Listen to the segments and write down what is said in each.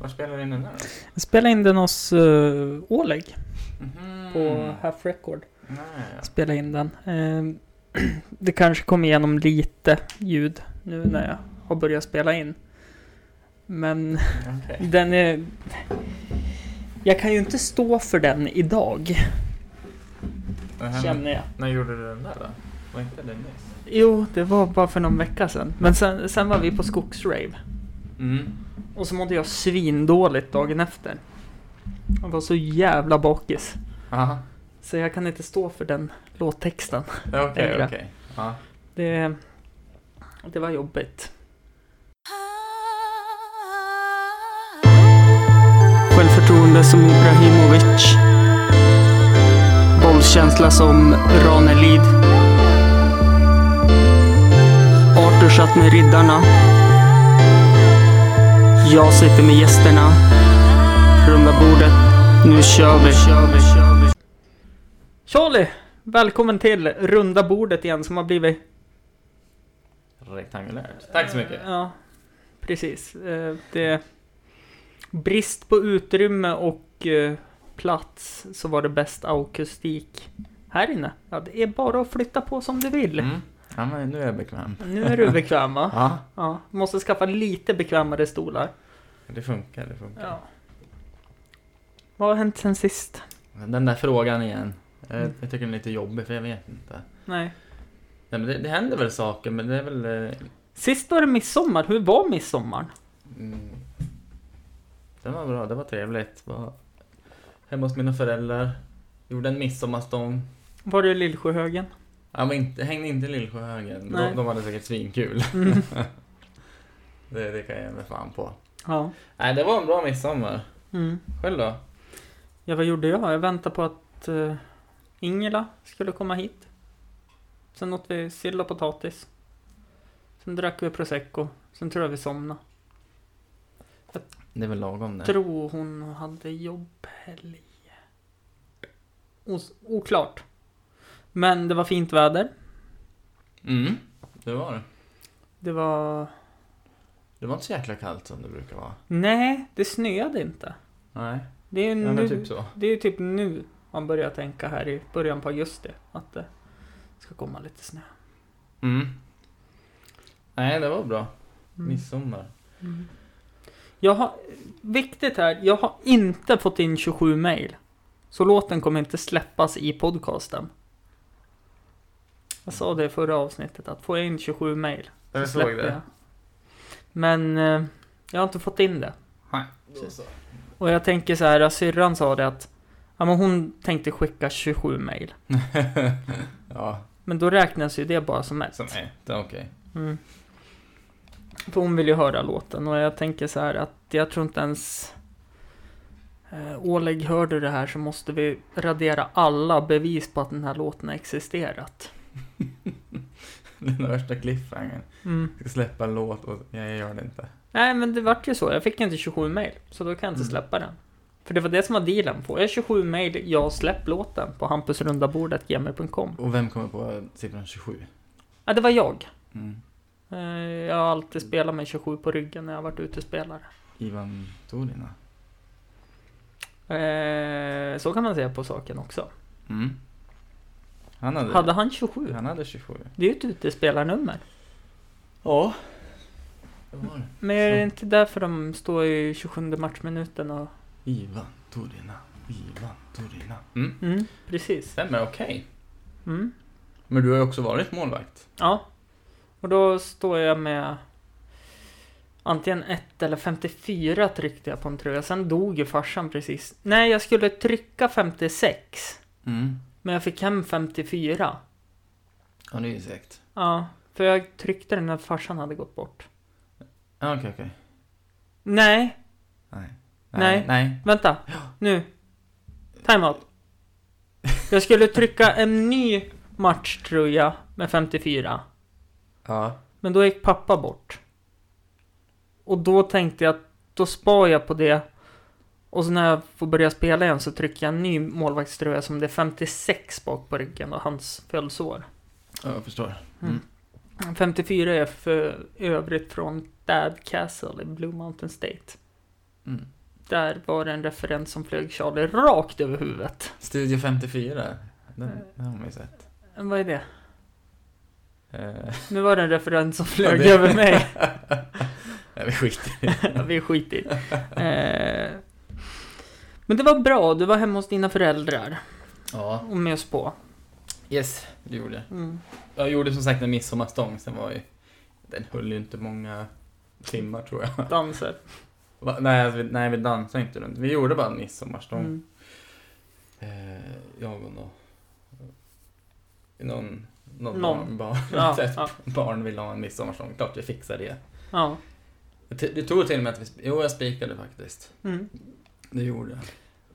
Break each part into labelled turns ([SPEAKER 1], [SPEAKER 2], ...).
[SPEAKER 1] Var spelar du in den här då?
[SPEAKER 2] Jag spelade in den hos uh, Oleg
[SPEAKER 1] Mhm.
[SPEAKER 2] på Half Record.
[SPEAKER 1] Nej.
[SPEAKER 2] Jag spelade in den. Eh, det kanske kommer igenom lite ljud nu när jag har börjat spela in. Men
[SPEAKER 1] Okej.
[SPEAKER 2] den är... Jag kan ju inte stå för den idag,
[SPEAKER 1] Vad hände-
[SPEAKER 2] känner jag.
[SPEAKER 1] När gjorde du den där då? Var inte den nyss?
[SPEAKER 2] Jo, det var bara för någon vecka sedan. Men sen, sen var vi på skogsrave.
[SPEAKER 1] Mm.
[SPEAKER 2] Och så mådde jag svindåligt dagen efter. Jag var så jävla bakis.
[SPEAKER 1] Aha.
[SPEAKER 2] Så jag kan inte stå för den låttexten.
[SPEAKER 1] Ja, Okej,
[SPEAKER 2] Eller?
[SPEAKER 1] okej. Ja.
[SPEAKER 2] Det, det var jobbigt. Självförtroende som Ibrahimovic. Bollkänsla som Ranelid. Arthur satt med riddarna. Jag sitter med gästerna. Runda bordet. Nu kör vi. Charlie! Välkommen till runda bordet igen som har blivit
[SPEAKER 1] Rektangulärt. Tack så mycket.
[SPEAKER 2] Ja, precis. Eh, Det brist på utrymme och eh, plats så var det bäst akustik här inne. Ja, det är bara att flytta på som du vill.
[SPEAKER 1] Mm. Ja, men nu är jag bekväm.
[SPEAKER 2] Nu är du bekväm va?
[SPEAKER 1] Ja.
[SPEAKER 2] Ja, måste skaffa lite bekvämare stolar.
[SPEAKER 1] Det funkar, det funkar.
[SPEAKER 2] Ja. Vad har hänt sen sist?
[SPEAKER 1] Den där frågan igen. Jag,
[SPEAKER 2] Mm.
[SPEAKER 1] jag tycker den är lite jobbig för jag vet inte.
[SPEAKER 2] Nej.
[SPEAKER 1] Nej, men det, det händer väl saker men det är väl... eh,
[SPEAKER 2] Sist var det midsommar. Hur var midsommar?
[SPEAKER 1] Mm, det var bra, det var trevligt. Var hemma hos mina föräldrar. Gjorde en midsommarstång.
[SPEAKER 2] Var det i Lillsjöhögen?
[SPEAKER 1] Ja, men inte, hängde inte i Lillsjöhögen. men
[SPEAKER 2] Nej.
[SPEAKER 1] De, de hade säkert svinkul. det, det kan jag ge mig fan på.
[SPEAKER 2] Ja.
[SPEAKER 1] Nej, det var en bra midsommar.
[SPEAKER 2] Mm.
[SPEAKER 1] Själv då?
[SPEAKER 2] Ja, vad gjorde jag? Jag väntade på att uh, Ingela skulle komma hit. Sen åt vi sill och potatis. Sen drack vi prosecco. Sen tror jag vi somnade.
[SPEAKER 1] Det är väl lagom det.
[SPEAKER 2] Tror hon hade jobbhelg. Os- oklart. Men det var fint väder.
[SPEAKER 1] Mm, det var det.
[SPEAKER 2] Det var...
[SPEAKER 1] Det var inte så jäkla kallt som det brukar vara. Nej.
[SPEAKER 2] Nej, det snöade inte.
[SPEAKER 1] Nej,
[SPEAKER 2] Det är ju
[SPEAKER 1] ja,
[SPEAKER 2] nu,
[SPEAKER 1] men typ så.
[SPEAKER 2] det är ju typ nu man börjar tänka här i början på augusti. Att det ska komma lite snö.
[SPEAKER 1] Mm. Nej, det var bra.
[SPEAKER 2] Mm.
[SPEAKER 1] Midsommar.
[SPEAKER 2] Jag har, viktigt här, jag har inte fått in 27 mejl. Så låten kommer inte släppas i podcasten. Jag sa det i förra avsnittet, att får jag in 27 mejl så
[SPEAKER 1] Jag
[SPEAKER 2] släpper
[SPEAKER 1] såg
[SPEAKER 2] jag.
[SPEAKER 1] det.
[SPEAKER 2] Men eh, jag har inte fått in det.
[SPEAKER 1] Nej,
[SPEAKER 2] Och jag tänker så här, att syrran sa det att ja, men hon tänkte skicka 27 mejl.
[SPEAKER 1] ja,
[SPEAKER 2] Men då räknas ju det bara som ett.
[SPEAKER 1] som ett. Okej.
[SPEAKER 2] Mm. För hon vill ju höra låten och jag tänker så här att jag tror inte ens eh, Oleg, hör du det här så måste vi radera alla bevis på att den här låten har existerat.
[SPEAKER 1] Den värsta cliffhangern.
[SPEAKER 2] Mm.
[SPEAKER 1] Ska släppa en låt och jag gör det inte.
[SPEAKER 2] Nej men det vart ju så, jag fick inte 27 mejl så då kan jag inte
[SPEAKER 1] Mm.
[SPEAKER 2] släppa den. För det var det som var dealen, får jag 27 mejl, jag släpp låten på hampusrundabordet.gmail.com.
[SPEAKER 1] Och vem kommer på siffran 27?
[SPEAKER 2] Ja det var jag.
[SPEAKER 1] Mm.
[SPEAKER 2] Eh, Jag har alltid spelat med 27 på ryggen när jag har varit utespelare.
[SPEAKER 1] Ivan Torina.
[SPEAKER 2] Eh, Så kan man säga på saken också.
[SPEAKER 1] Mm. Han hade,
[SPEAKER 2] Hade han 27?
[SPEAKER 1] han hade 27.
[SPEAKER 2] Det är ju ett utespelarnummer.
[SPEAKER 1] Ja. Det var det.
[SPEAKER 2] Men är det
[SPEAKER 1] Så.
[SPEAKER 2] inte därför de står i 27 matchminuten och...
[SPEAKER 1] Ivan Torina. Ivan Torina. Mm.
[SPEAKER 2] Mm, precis.
[SPEAKER 1] Stämmer, okej.
[SPEAKER 2] Mm.
[SPEAKER 1] Men du har ju också varit målvakt.
[SPEAKER 2] Ja. Och då står jag med... Antingen 1 eller 54 tryckte jag på en tröja. Sen dog ju farsan precis. Nej, jag skulle trycka 56.
[SPEAKER 1] Mm.
[SPEAKER 2] Men jag fick hem 54.
[SPEAKER 1] Ja, det är ju säkert.
[SPEAKER 2] Ja, för jag tryckte den när farsan hade gått bort.
[SPEAKER 1] Ja, Ah, okej, okej.
[SPEAKER 2] Nej,
[SPEAKER 1] Nej.
[SPEAKER 2] Nej.
[SPEAKER 1] Nej.
[SPEAKER 2] Vänta, nu. Timeout. Jag skulle trycka en ny matchtröja med 54.
[SPEAKER 1] Ja.
[SPEAKER 2] Men då gick pappa bort. Och då tänkte jag att då spar jag på det. Och så när jag får börja spela igen så trycker jag en ny målvaktströja som det är 56 bak på ryggen och hans födelseår.
[SPEAKER 1] ja, jag förstår.
[SPEAKER 2] 54 är för övrigt från Dad Castle i Blue Mountain State.
[SPEAKER 1] Mm.
[SPEAKER 2] Där var det en referens som flög Charlie rakt över huvudet.
[SPEAKER 1] Studio 54. Den, den har man ju sett.
[SPEAKER 2] Men Vad är det?
[SPEAKER 1] Eh,
[SPEAKER 2] Nu var det en referens som flög
[SPEAKER 1] det-
[SPEAKER 2] över mig.
[SPEAKER 1] Nej, vi skiter i
[SPEAKER 2] Ja, Vi skiter i. eh, Men det var bra, du var hemma hos dina föräldrar
[SPEAKER 1] Ja.
[SPEAKER 2] och med oss på.
[SPEAKER 1] Yes, det gjorde jag.
[SPEAKER 2] Mm.
[SPEAKER 1] Jag gjorde som sagt en midsommarstång. Sen var ju... Den höll ju inte många timmar tror jag.
[SPEAKER 2] Danser.
[SPEAKER 1] Va? Nej, vi, nej, vi dansade inte runt. Vi gjorde bara en midsommarstång.
[SPEAKER 2] Mm.
[SPEAKER 1] Eh, jag och någon... Någon, någon, barn,
[SPEAKER 2] Någon.
[SPEAKER 1] barn,
[SPEAKER 2] Ja,
[SPEAKER 1] ett
[SPEAKER 2] ja.
[SPEAKER 1] barn ville ha en midsommarstång. Klart vi fixar det.
[SPEAKER 2] Ja.
[SPEAKER 1] Det t- Det tog till och med att vi... sp- Jo, jag spikade faktiskt.
[SPEAKER 2] Mm.
[SPEAKER 1] Det gjorde jag.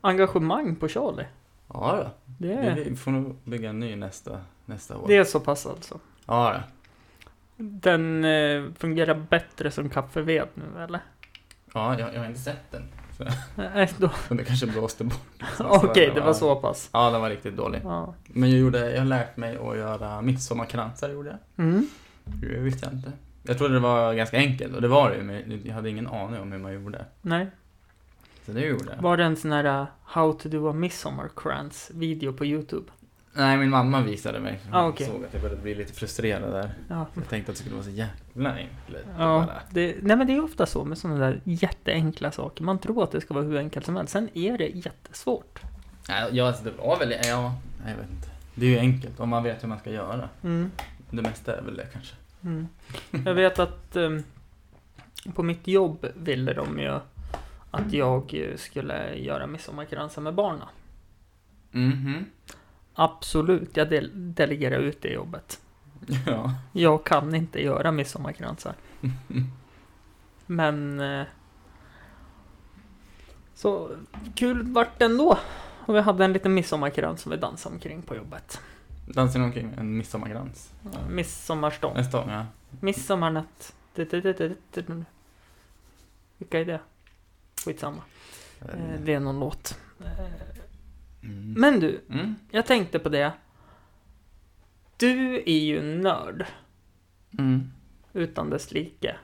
[SPEAKER 2] Engagemang på Charlie.
[SPEAKER 1] Ja, då.
[SPEAKER 2] Det
[SPEAKER 1] Vi-
[SPEAKER 2] är,
[SPEAKER 1] Vi får nog bygga en ny nästa, nästa år.
[SPEAKER 2] det är så pass alltså.
[SPEAKER 1] Ja, då.
[SPEAKER 2] Den eh, fungerar bättre som kaffeved nu eller?
[SPEAKER 1] ja jag, jag har inte sett den.
[SPEAKER 2] Nej, då.
[SPEAKER 1] Men det kanske blåste bort. Liksom.
[SPEAKER 2] Okej, det var så pass.
[SPEAKER 1] Ja, den var riktigt dålig.
[SPEAKER 2] Ja.
[SPEAKER 1] Men jag, gjorde, jag har lärt mig att göra midsommarkransar, gjorde jag.
[SPEAKER 2] Mm.
[SPEAKER 1] Det visste jag inte. Jag trodde det var ganska enkelt, och det var det ju, men jag hade ingen aning om hur man gjorde.
[SPEAKER 2] Nej.
[SPEAKER 1] Så det gjorde jag.
[SPEAKER 2] Var det en sån här eh, How to do a midsummer crans video på YouTube?
[SPEAKER 1] Nej, min mamma visade mig. Hon
[SPEAKER 2] Ah, okej.
[SPEAKER 1] såg att jag började bli lite frustrerad där.
[SPEAKER 2] Ja.
[SPEAKER 1] Jag tänkte att det skulle vara så jävla enkelt.
[SPEAKER 2] Ja,
[SPEAKER 1] Bara,
[SPEAKER 2] det, nej men det är ofta så med sådana där jätteenkla saker. Man tror att det ska vara hur enkelt som helst. Sen är det jättesvårt.
[SPEAKER 1] Nej, ja, alltså, det var väl... Ja, nej, jag vet inte. Det är ju enkelt om man vet hur man ska göra.
[SPEAKER 2] Mm.
[SPEAKER 1] Det mesta är väl det kanske.
[SPEAKER 2] Mm. Jag vet att ehm, på mitt jobb ville de ju att jag eh, skulle göra midsommarkransar med barnen.
[SPEAKER 1] Mhm.
[SPEAKER 2] Absolut, jag del- delegerar ut det jobbet.
[SPEAKER 1] Ja.
[SPEAKER 2] Jag kan inte göra midsommarkransar. Men... eh, Så kul vart det ändå. Och vi hade en liten midsommarkrans som vi dansade omkring på jobbet.
[SPEAKER 1] Dansar ni omkring en midsommarkrans?
[SPEAKER 2] Ja, Midsommarstång.
[SPEAKER 1] En stång, ja.
[SPEAKER 2] Midsommarnatt. Du, du, du, du, du, du. Vilka är det? Skitsamma. Eh, Det är någon låt. Eh,
[SPEAKER 1] Mm.
[SPEAKER 2] Men du,
[SPEAKER 1] Mm.
[SPEAKER 2] jag tänkte på det. Du är ju nörd
[SPEAKER 1] Mm.
[SPEAKER 2] utan dess like.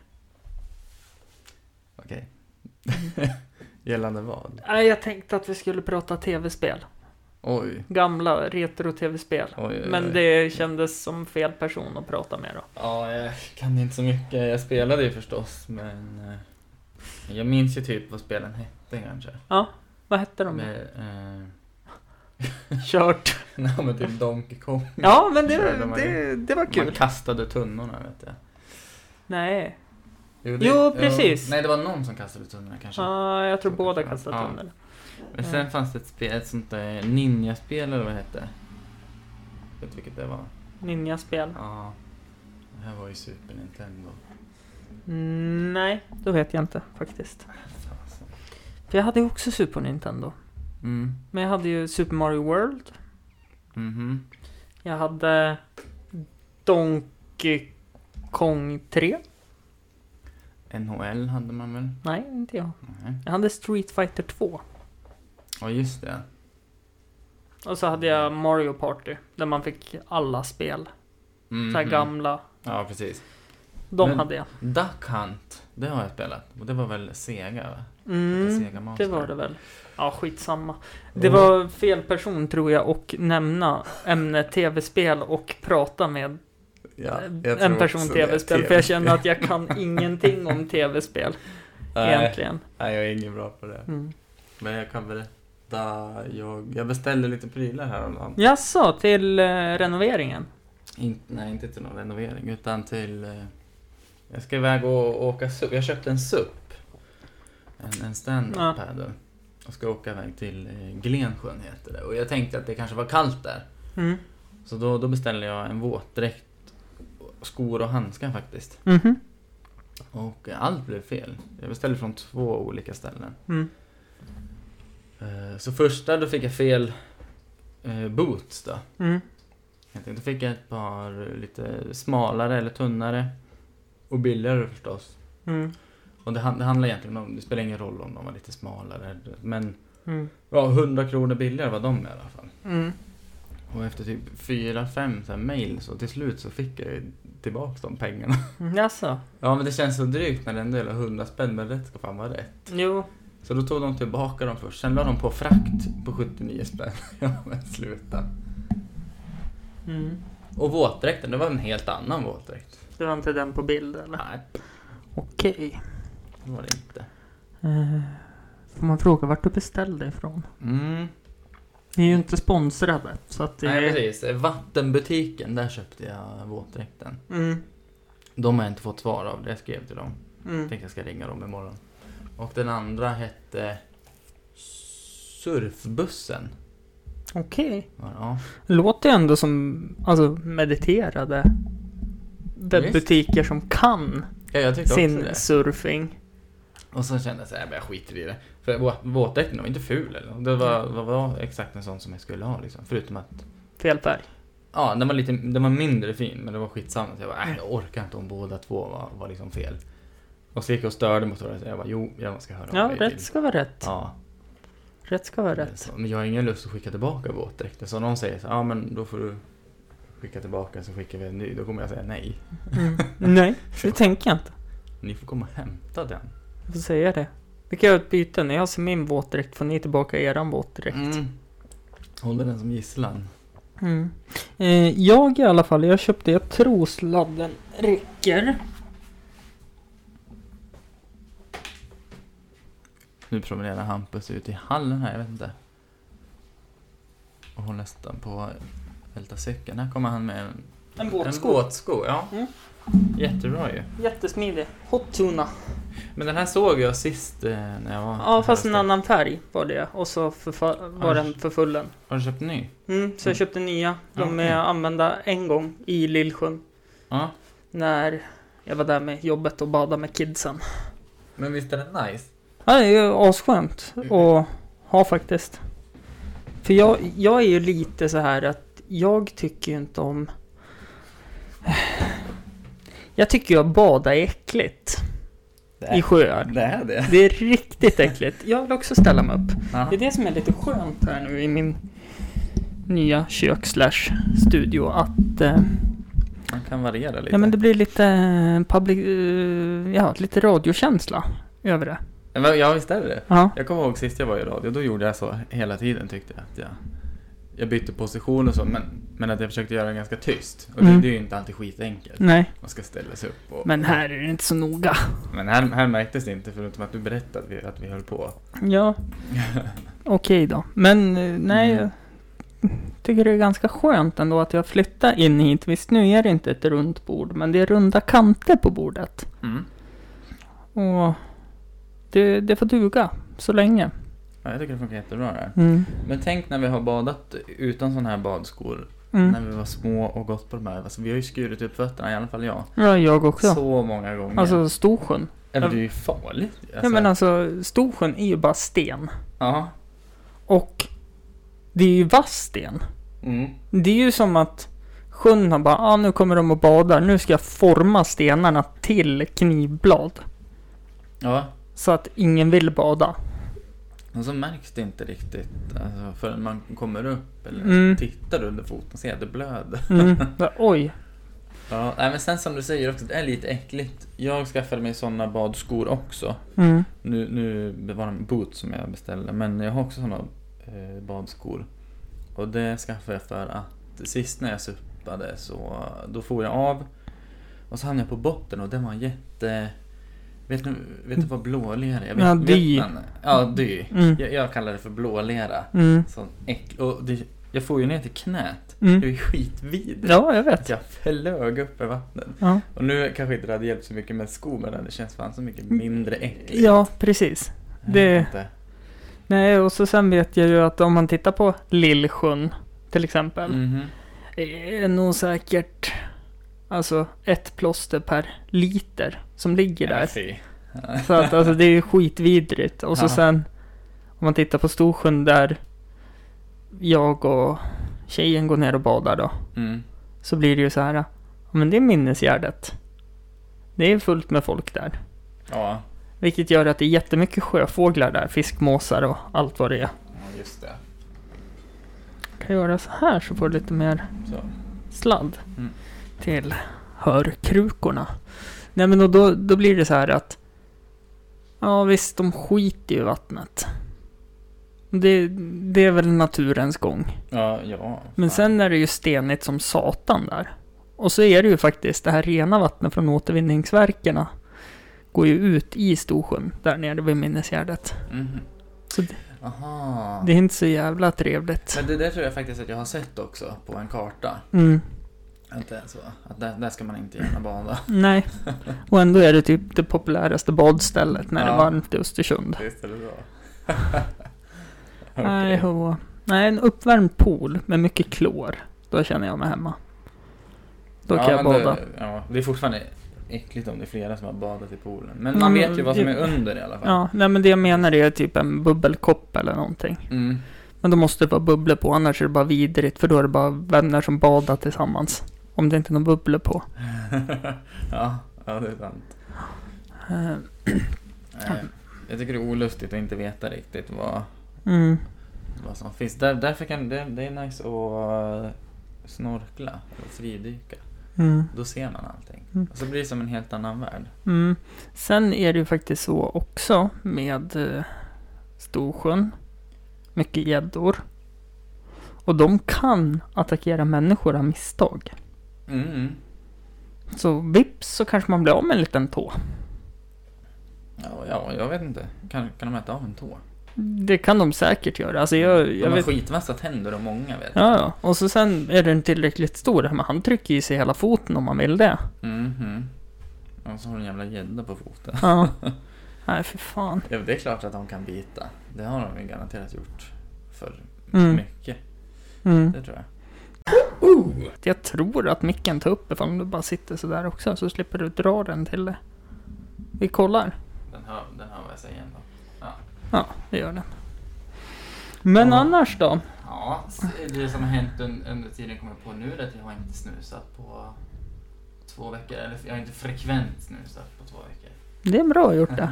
[SPEAKER 1] Okej. Gällande vad?
[SPEAKER 2] Nej, Jag tänkte att vi skulle prata tv-spel.
[SPEAKER 1] Oj.
[SPEAKER 2] Gamla retro-tv-spel.
[SPEAKER 1] Oj, oj,
[SPEAKER 2] Men
[SPEAKER 1] oj.
[SPEAKER 2] det kändes som fel person att prata med då.
[SPEAKER 1] Ja, jag kan inte så mycket. Jag spelade ju förstås, men... eh, Jag minns ju typ vad spelen hette kanske.
[SPEAKER 2] Vad hette de?
[SPEAKER 1] Med, eh,
[SPEAKER 2] Kört.
[SPEAKER 1] nej, men typ Donkey Kong.
[SPEAKER 2] Ja, men det,
[SPEAKER 1] Körde man
[SPEAKER 2] det, det var
[SPEAKER 1] Man
[SPEAKER 2] kul.
[SPEAKER 1] kastade tunnorna, vet jag.
[SPEAKER 2] Nej,
[SPEAKER 1] det-
[SPEAKER 2] Jo, precis.
[SPEAKER 1] nej, det var någon som kastade tunnorna kanske.
[SPEAKER 2] Ja, jag tror
[SPEAKER 1] Så
[SPEAKER 2] båda
[SPEAKER 1] kanske
[SPEAKER 2] kastar
[SPEAKER 1] man- ja.
[SPEAKER 2] tunnel.
[SPEAKER 1] Men sen fanns det ett, spel, ett sånt där ninjaspel eller vad det hette. Vet du vilket det var?
[SPEAKER 2] Ninjaspel.
[SPEAKER 1] Ja. Det här var ju Super Nintendo.
[SPEAKER 2] Mm, nej, då vet jag inte faktiskt.
[SPEAKER 1] Fasen.
[SPEAKER 2] För jag hade ju också Super Nintendo.
[SPEAKER 1] Mm.
[SPEAKER 2] Men jag hade ju Super Mario World.
[SPEAKER 1] Mhm.
[SPEAKER 2] Jag hade Donkey Kong 3.
[SPEAKER 1] NHL hade man väl?
[SPEAKER 2] Nej, inte jag.
[SPEAKER 1] Nej.
[SPEAKER 2] Jag hade Street Fighter 2.
[SPEAKER 1] Ja, just det.
[SPEAKER 2] Och så hade jag Mario Party. Där man fick alla spel.
[SPEAKER 1] Mhm.
[SPEAKER 2] Så här gamla.
[SPEAKER 1] Ja, precis.
[SPEAKER 2] De
[SPEAKER 1] Men-
[SPEAKER 2] hade jag.
[SPEAKER 1] Duck Hunt, det har jag spelat. Och det var väl Sega, va?
[SPEAKER 2] Mm,
[SPEAKER 1] Sega Master.
[SPEAKER 2] det var det väl. Ja, skitsamma. Det
[SPEAKER 1] Mm.
[SPEAKER 2] var fel person tror jag och nämna ämnet tv-spel och prata med
[SPEAKER 1] Ja, jag tror
[SPEAKER 2] Eh, en person
[SPEAKER 1] också det.
[SPEAKER 2] tv-spel. För jag känner att jag kan ingenting om tv-spel
[SPEAKER 1] Nej,
[SPEAKER 2] egentligen.
[SPEAKER 1] nej, jag är ingen bra på det.
[SPEAKER 2] Mm.
[SPEAKER 1] Men jag kan berätta. Jag, jag beställde lite prylar häromdagen.
[SPEAKER 2] Jaså, till eh, renoveringen?
[SPEAKER 1] In, nej, inte till någon renovering, utan till... eh, Jag ska iväg och åka SUP. Jag köpte en SUP. En, en stand-up
[SPEAKER 2] Ja.
[SPEAKER 1] paddle. Och ska åka iväg till eh, Glensjön heter det. Och jag tänkte att det kanske var kallt där.
[SPEAKER 2] Mm.
[SPEAKER 1] Så då, då beställde jag en våtdräkt, skor och handskar faktiskt.
[SPEAKER 2] Mhm.
[SPEAKER 1] Och eh, allt blev fel. Jag beställde från två olika ställen.
[SPEAKER 2] Mm.
[SPEAKER 1] Eh, Så första då fick jag fel eh, boots då.
[SPEAKER 2] Mm.
[SPEAKER 1] Jag tänkte, då fick jag ett par lite smalare eller tunnare. Och billigare förstås.
[SPEAKER 2] Mm.
[SPEAKER 1] Och det, han- det handlar egentligen om, det spelar ingen roll om de var lite smalare. eller- Men
[SPEAKER 2] Mm.
[SPEAKER 1] ja, 100 kronor billigare var de i alla fall.
[SPEAKER 2] Mm.
[SPEAKER 1] Och efter typ 4-5 mail så till slut så fick jag ju tillbaka de pengarna.
[SPEAKER 2] Jaså?
[SPEAKER 1] Ja men det känns så drygt när det ändå är 100 spänn men rätt ska fan vara rätt.
[SPEAKER 2] Jo.
[SPEAKER 1] Så då tog de tillbaka dem först. Sen la de på frakt på 79 spänn. Ja men sluta.
[SPEAKER 2] Mm.
[SPEAKER 1] Och våtdräkten, det var en helt annan våtdräkt.
[SPEAKER 2] Det var inte den på bild eller?
[SPEAKER 1] Nej,
[SPEAKER 2] Okej.
[SPEAKER 1] det var det inte.
[SPEAKER 2] Eh, får man fråga vart du beställde ifrån?
[SPEAKER 1] Mm.
[SPEAKER 2] Vi är ju inte sponsrade. Så att det
[SPEAKER 1] Nej precis, vattenbutiken, där köpte jag våtdräkten.
[SPEAKER 2] Mm.
[SPEAKER 1] De har jag inte fått svar av, det skrev jag till dem.
[SPEAKER 2] Mm.
[SPEAKER 1] Jag tänkte jag ska ringa dem imorgon. Och den andra hette Surfbussen.
[SPEAKER 2] Okej.
[SPEAKER 1] Ja,
[SPEAKER 2] Låter ju ändå som alltså, mediterade webbutiker som kan
[SPEAKER 1] ja jag tyckte också
[SPEAKER 2] sin
[SPEAKER 1] det.
[SPEAKER 2] surfing.
[SPEAKER 1] Och så kände jag såhär, jag skiter i det. För vå- våtdräkten var inte ful eller något. Det var, var, var exakt en sån som jag skulle ha liksom. Förutom att,
[SPEAKER 2] Fel färg.
[SPEAKER 1] ja den var lite, den var mindre fin men det var skitsamma. Så jag bara, äh, jag orkar inte om båda två var, var liksom fel. Och så gick jag och störde motorn så jag bara, jo, jag ska höra
[SPEAKER 2] Ja,
[SPEAKER 1] mig
[SPEAKER 2] rätt
[SPEAKER 1] till.
[SPEAKER 2] ska vara rätt.
[SPEAKER 1] Ja,
[SPEAKER 2] Rätt ska vara
[SPEAKER 1] det är
[SPEAKER 2] rätt.
[SPEAKER 1] så. Men jag har ingen lust att skicka tillbaka våtdräkten. Så om någon säger så ja men då får du skicka tillbaka så skickar vi en ny. Då kommer jag säga nej.
[SPEAKER 2] Mm. Nej, det tänker jag inte.
[SPEAKER 1] Ni får komma och hämta den.
[SPEAKER 2] Jag får säga det. Det kan jag ett byte. När jag ser min våtdräkt får ni tillbaka eran våtdräkt.
[SPEAKER 1] Mm. Håller den som gisslan.
[SPEAKER 2] Mm. Eh, jag i alla fall, jag köpte, jag tror sladden räcker.
[SPEAKER 1] Nu promenerar Hampus ut i hallen här, jag vet inte. Och håller nästan på att välta cykeln. Här kommer han med en,
[SPEAKER 2] En
[SPEAKER 1] en
[SPEAKER 2] båtsko.
[SPEAKER 1] båtsko. Ja.
[SPEAKER 2] Mm.
[SPEAKER 1] Jättebra ju.
[SPEAKER 2] Jättesmidig. Hot tuna.
[SPEAKER 1] Men den här såg jag sist eh, när jag var här
[SPEAKER 2] Ja, fast
[SPEAKER 1] hos
[SPEAKER 2] en
[SPEAKER 1] dig.
[SPEAKER 2] annan färg var det. Och så förfa- var
[SPEAKER 1] Aj.
[SPEAKER 2] den förfullen.
[SPEAKER 1] Har du köpt en ny?
[SPEAKER 2] Mm, så jag köpte nya. De
[SPEAKER 1] Okej.
[SPEAKER 2] är använda en gång i Lillsjön.
[SPEAKER 1] Ja.
[SPEAKER 2] När jag var där med jobbet och badade med kidsen.
[SPEAKER 1] Men visst är den nice?
[SPEAKER 2] Ja, det är ju asskönt att ha faktiskt. För jag, jag är ju lite så här att jag tycker ju inte om... Jag tycker ju att bada är äckligt
[SPEAKER 1] Det
[SPEAKER 2] i sjöar.
[SPEAKER 1] det. Är det.
[SPEAKER 2] Det är riktigt äckligt. Jag vill också ställa mig upp.
[SPEAKER 1] Ja.
[SPEAKER 2] Det är det som är lite skönt här nu i min nya kök slash studio att eh,
[SPEAKER 1] Man kan variera lite.
[SPEAKER 2] ja, men det blir lite eh, public, eh, ja, lite radiokänsla över det.
[SPEAKER 1] Men Ja, visst är det det.
[SPEAKER 2] Ja.
[SPEAKER 1] Jag kommer ihåg sist jag var i radio, då gjorde jag så hela tiden tyckte jag. Att jag, jag bytte position och så, men, men att jag försökte göra det ganska tyst. Och det,
[SPEAKER 2] Mm.
[SPEAKER 1] det är ju inte alltid skitenkelt.
[SPEAKER 2] Nej,
[SPEAKER 1] Man ska ställa sig upp och...
[SPEAKER 2] men här är det inte så noga.
[SPEAKER 1] Men här, här märktes det inte förutom att du berättade att vi, att vi höll på.
[SPEAKER 2] Ja, okej då. Men eh, nej,
[SPEAKER 1] Mm.
[SPEAKER 2] jag tycker det är ganska skönt ändå att jag flyttar in hit. Visst, nu är det inte ett runt bord, men det är runda kanter på bordet.
[SPEAKER 1] Mm.
[SPEAKER 2] Och det, det får duga så länge.
[SPEAKER 1] Ja, jag tycker det funkar jättebra det här.
[SPEAKER 2] Mm.
[SPEAKER 1] Men tänk när vi har badat utan sådana här badskor.
[SPEAKER 2] Mm.
[SPEAKER 1] När vi var små och gått på de här. Alltså, vi har ju skurit upp fötterna, i alla fall jag.
[SPEAKER 2] Ja, jag också.
[SPEAKER 1] Så många gånger.
[SPEAKER 2] Alltså Storsjön.
[SPEAKER 1] ja, men det är ju farligt. Alltså,
[SPEAKER 2] Ja men alltså Storsjön är ju bara sten.
[SPEAKER 1] Ja.
[SPEAKER 2] Och det är ju vass sten.
[SPEAKER 1] Mm.
[SPEAKER 2] Det är ju som att sjön har bara, ah, nu kommer de och badar, nu ska jag forma stenarna till knivblad.
[SPEAKER 1] Ja.
[SPEAKER 2] Så att ingen vill bada.
[SPEAKER 1] Och så märks det inte riktigt alltså, förrän man kommer upp eller
[SPEAKER 2] Mm.
[SPEAKER 1] tittar under foten och ser att det blöder.
[SPEAKER 2] Mm. Ja, Oj.
[SPEAKER 1] Ja, nej, men sen som du säger också, det är lite äckligt. Jag skaffade mig sådana badskor också.
[SPEAKER 2] Mm.
[SPEAKER 1] Nu, nu det var de boots som jag beställde, men jag har också sådana eh, badskor. Och det skaffade jag för att sist när jag suppade så då for jag av och så hamnade jag på botten och den var jätte... Vet du, vet du vad blålera är? Vet-
[SPEAKER 2] Ja,
[SPEAKER 1] vet
[SPEAKER 2] dy.
[SPEAKER 1] man- Ja, dy.
[SPEAKER 2] Mm.
[SPEAKER 1] Jag, jag kallar det för blålera.
[SPEAKER 2] Mm.
[SPEAKER 1] Sån äck... Och det, jag får ju ner till knät. Det är
[SPEAKER 2] Mm.
[SPEAKER 1] ju skitvidrigt.
[SPEAKER 2] Ja, jag vet.
[SPEAKER 1] Att jag flög upp i vattnet.
[SPEAKER 2] Ja,
[SPEAKER 1] Och nu kanske inte det hade hjälpt så mycket med skor men det känns fan så mycket mindre äckligt.
[SPEAKER 2] ja precis.
[SPEAKER 1] Jag vet
[SPEAKER 2] det-
[SPEAKER 1] inte.
[SPEAKER 2] Nej, och så sen vet jag ju att om man tittar på Lillsjön till exempel.
[SPEAKER 1] Mhm.
[SPEAKER 2] Det är nog säkert alltså ett plåster per liter som ligger
[SPEAKER 1] Ja,
[SPEAKER 2] där.
[SPEAKER 1] fy.
[SPEAKER 2] Så att alltså det är ju skitvidrigt. Och så
[SPEAKER 1] Ja.
[SPEAKER 2] sen om man tittar på Storsjön där jag och tjejen går ner och badar då.
[SPEAKER 1] Mm.
[SPEAKER 2] Så blir det ju så här. ja, Men det är minnesgärdet. Det är fullt med folk där.
[SPEAKER 1] Ja,
[SPEAKER 2] Vilket gör att det är jättemycket sjöfåglar där. Fiskmåsar och allt vad det är.
[SPEAKER 1] ja, just det.
[SPEAKER 2] Kan jag göra så här så får du lite mer
[SPEAKER 1] Så.
[SPEAKER 2] sladd
[SPEAKER 1] Mm.
[SPEAKER 2] till hörkrukorna. Nej men och då, då blir det så här att Ja visst, de skiter ju i vattnet. Det, det är väl naturens gång.
[SPEAKER 1] Ja, ja.
[SPEAKER 2] Men
[SPEAKER 1] fan.
[SPEAKER 2] sen är det ju stenigt som satan där. Och så är det ju faktiskt det här rena vattnet från återvinningsverkerna. Går ju ut i Storsjön, där nere vid Minnesgärdet.
[SPEAKER 1] Mhm.
[SPEAKER 2] Så det-
[SPEAKER 1] Aha.
[SPEAKER 2] Det är inte så jävla trevligt.
[SPEAKER 1] Men det där tror jag faktiskt att jag har sett också på en karta.
[SPEAKER 2] Mm.
[SPEAKER 1] Att det är så. Att där, där ska man inte gärna bada.
[SPEAKER 2] Nej. Och ändå är det typ det populäraste badstället när det
[SPEAKER 1] Ja.
[SPEAKER 2] är varmt i Östersund.
[SPEAKER 1] Visst är det bra?
[SPEAKER 2] Nej, ho. Nej, en uppvärmd pool med mycket klor. Då känner jag mig hemma. Då kan jag
[SPEAKER 1] men
[SPEAKER 2] bada.
[SPEAKER 1] Det, ja, det är fortfarande äckligt om det är flera som har badat i poolen. Men
[SPEAKER 2] Ja,
[SPEAKER 1] man
[SPEAKER 2] men
[SPEAKER 1] vet ju vad som
[SPEAKER 2] Mm, det-
[SPEAKER 1] är under i alla fall.
[SPEAKER 2] Ja, nej men det jag menar är typ en bubbelkopp eller någonting.
[SPEAKER 1] Mm.
[SPEAKER 2] Men då måste det vara bubblor på, annars är det bara vidrigt. För då är det bara vänner som badar tillsammans. Om det inte är någon bubblor på.
[SPEAKER 1] ja, ja, det är sant.
[SPEAKER 2] Eh,
[SPEAKER 1] Nej, Jag tycker det är olustigt att inte veta riktigt vad,
[SPEAKER 2] Mm.
[SPEAKER 1] vad som finns. Där, därför kan det, det är nice att snorkla och fridyka.
[SPEAKER 2] Mm.
[SPEAKER 1] Då ser man allting.
[SPEAKER 2] Mm.
[SPEAKER 1] Och så blir det som en helt annan värld.
[SPEAKER 2] Mm. Sen är det ju faktiskt så också med eh, Storsjön. Mycket gäddor. Och de kan attackera människor av misstag.
[SPEAKER 1] Mm.
[SPEAKER 2] Så vips så kanske man blir av med en liten tå.
[SPEAKER 1] Ja, ja, jag vet inte. Kan, kan de äta av en tå?
[SPEAKER 2] Det kan de säkert göra. Alltså jag,
[SPEAKER 1] de
[SPEAKER 2] jag
[SPEAKER 1] har
[SPEAKER 2] vet.
[SPEAKER 1] skitvassa tänder och många vet
[SPEAKER 2] Ja, ja. Och så sen är den tillräckligt stor. Men han trycker i sig hela foten om man vill det.
[SPEAKER 1] Mhm. Och så har de en jävla gädda på foten.
[SPEAKER 2] Ja. Nej, för fan.
[SPEAKER 1] Ja, det är klart att de kan bita. Det har de ju garanterat gjort. För
[SPEAKER 2] Mm.
[SPEAKER 1] mycket,
[SPEAKER 2] Mm.
[SPEAKER 1] det tror jag.
[SPEAKER 2] Jag tror att micken tar upp ifall du bara sitter sådär också. Så slipper du dra den till det. Vi kollar.
[SPEAKER 1] Den hör, den hör vad jag säger ändå.
[SPEAKER 2] Ja, det gör den. Men
[SPEAKER 1] Ja.
[SPEAKER 2] annars då?
[SPEAKER 1] Ja, det som har hänt un- under tiden kommer jag på nu är att jag har inte snusat på två veckor. Eller jag har inte frekvent snusat på två veckor.
[SPEAKER 2] Det är bra gjort det.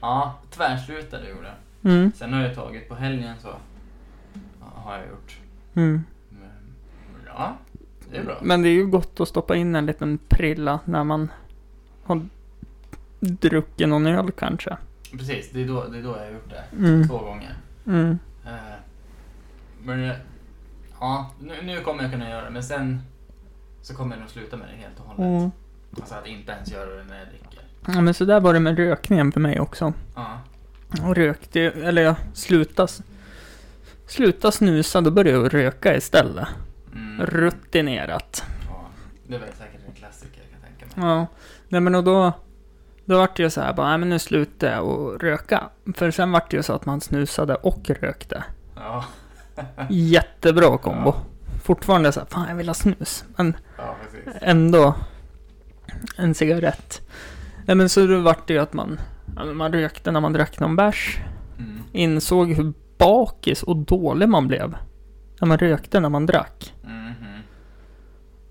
[SPEAKER 1] Ja, tvärslutade gjorde jag.
[SPEAKER 2] Mm,
[SPEAKER 1] Sen har jag tagit på helgen så. Ja, har jag gjort.
[SPEAKER 2] mm.
[SPEAKER 1] Men, ja, det är bra.
[SPEAKER 2] Men det är ju gott att stoppa in en liten prilla när man har druckit någon öl kanske.
[SPEAKER 1] Precis, det är då, det är då jag har gjort det.
[SPEAKER 2] Mm,
[SPEAKER 1] Två gånger.
[SPEAKER 2] mm,
[SPEAKER 1] Eh, Men jag- ja, nu, nu kommer jag kunna göra det, men sen så kommer jag nog sluta med det helt och hållet.
[SPEAKER 2] mm.
[SPEAKER 1] Alltså att inte ens göra det när jag dricker.
[SPEAKER 2] Ja, men så där var det med rökningen för mig också.
[SPEAKER 1] Ja,
[SPEAKER 2] Och rökte, eller jag slutade, s- slutade snusa, då började jag röka istället.
[SPEAKER 1] mm,
[SPEAKER 2] Rutinerat.
[SPEAKER 1] ja. Det är väl säkert en klassiker kan jag tänka mig.
[SPEAKER 2] Ja, nej men och då, då vart det ju så här bara, nej men nu slutar jag och röka. För sen vart det ju så att man snusade och rökte.
[SPEAKER 1] Ja,
[SPEAKER 2] Jättebra kombo. Fortfarande så här, fan jag vill ha snus. Men
[SPEAKER 1] ja precis.
[SPEAKER 2] ändå en cigarett. Nej men så då vart det ju att man, ja, men man rökte när man drack någon bärs.
[SPEAKER 1] Mm.
[SPEAKER 2] Insåg hur bakis och dålig man blev. När man rökte när man drack.
[SPEAKER 1] Mhm.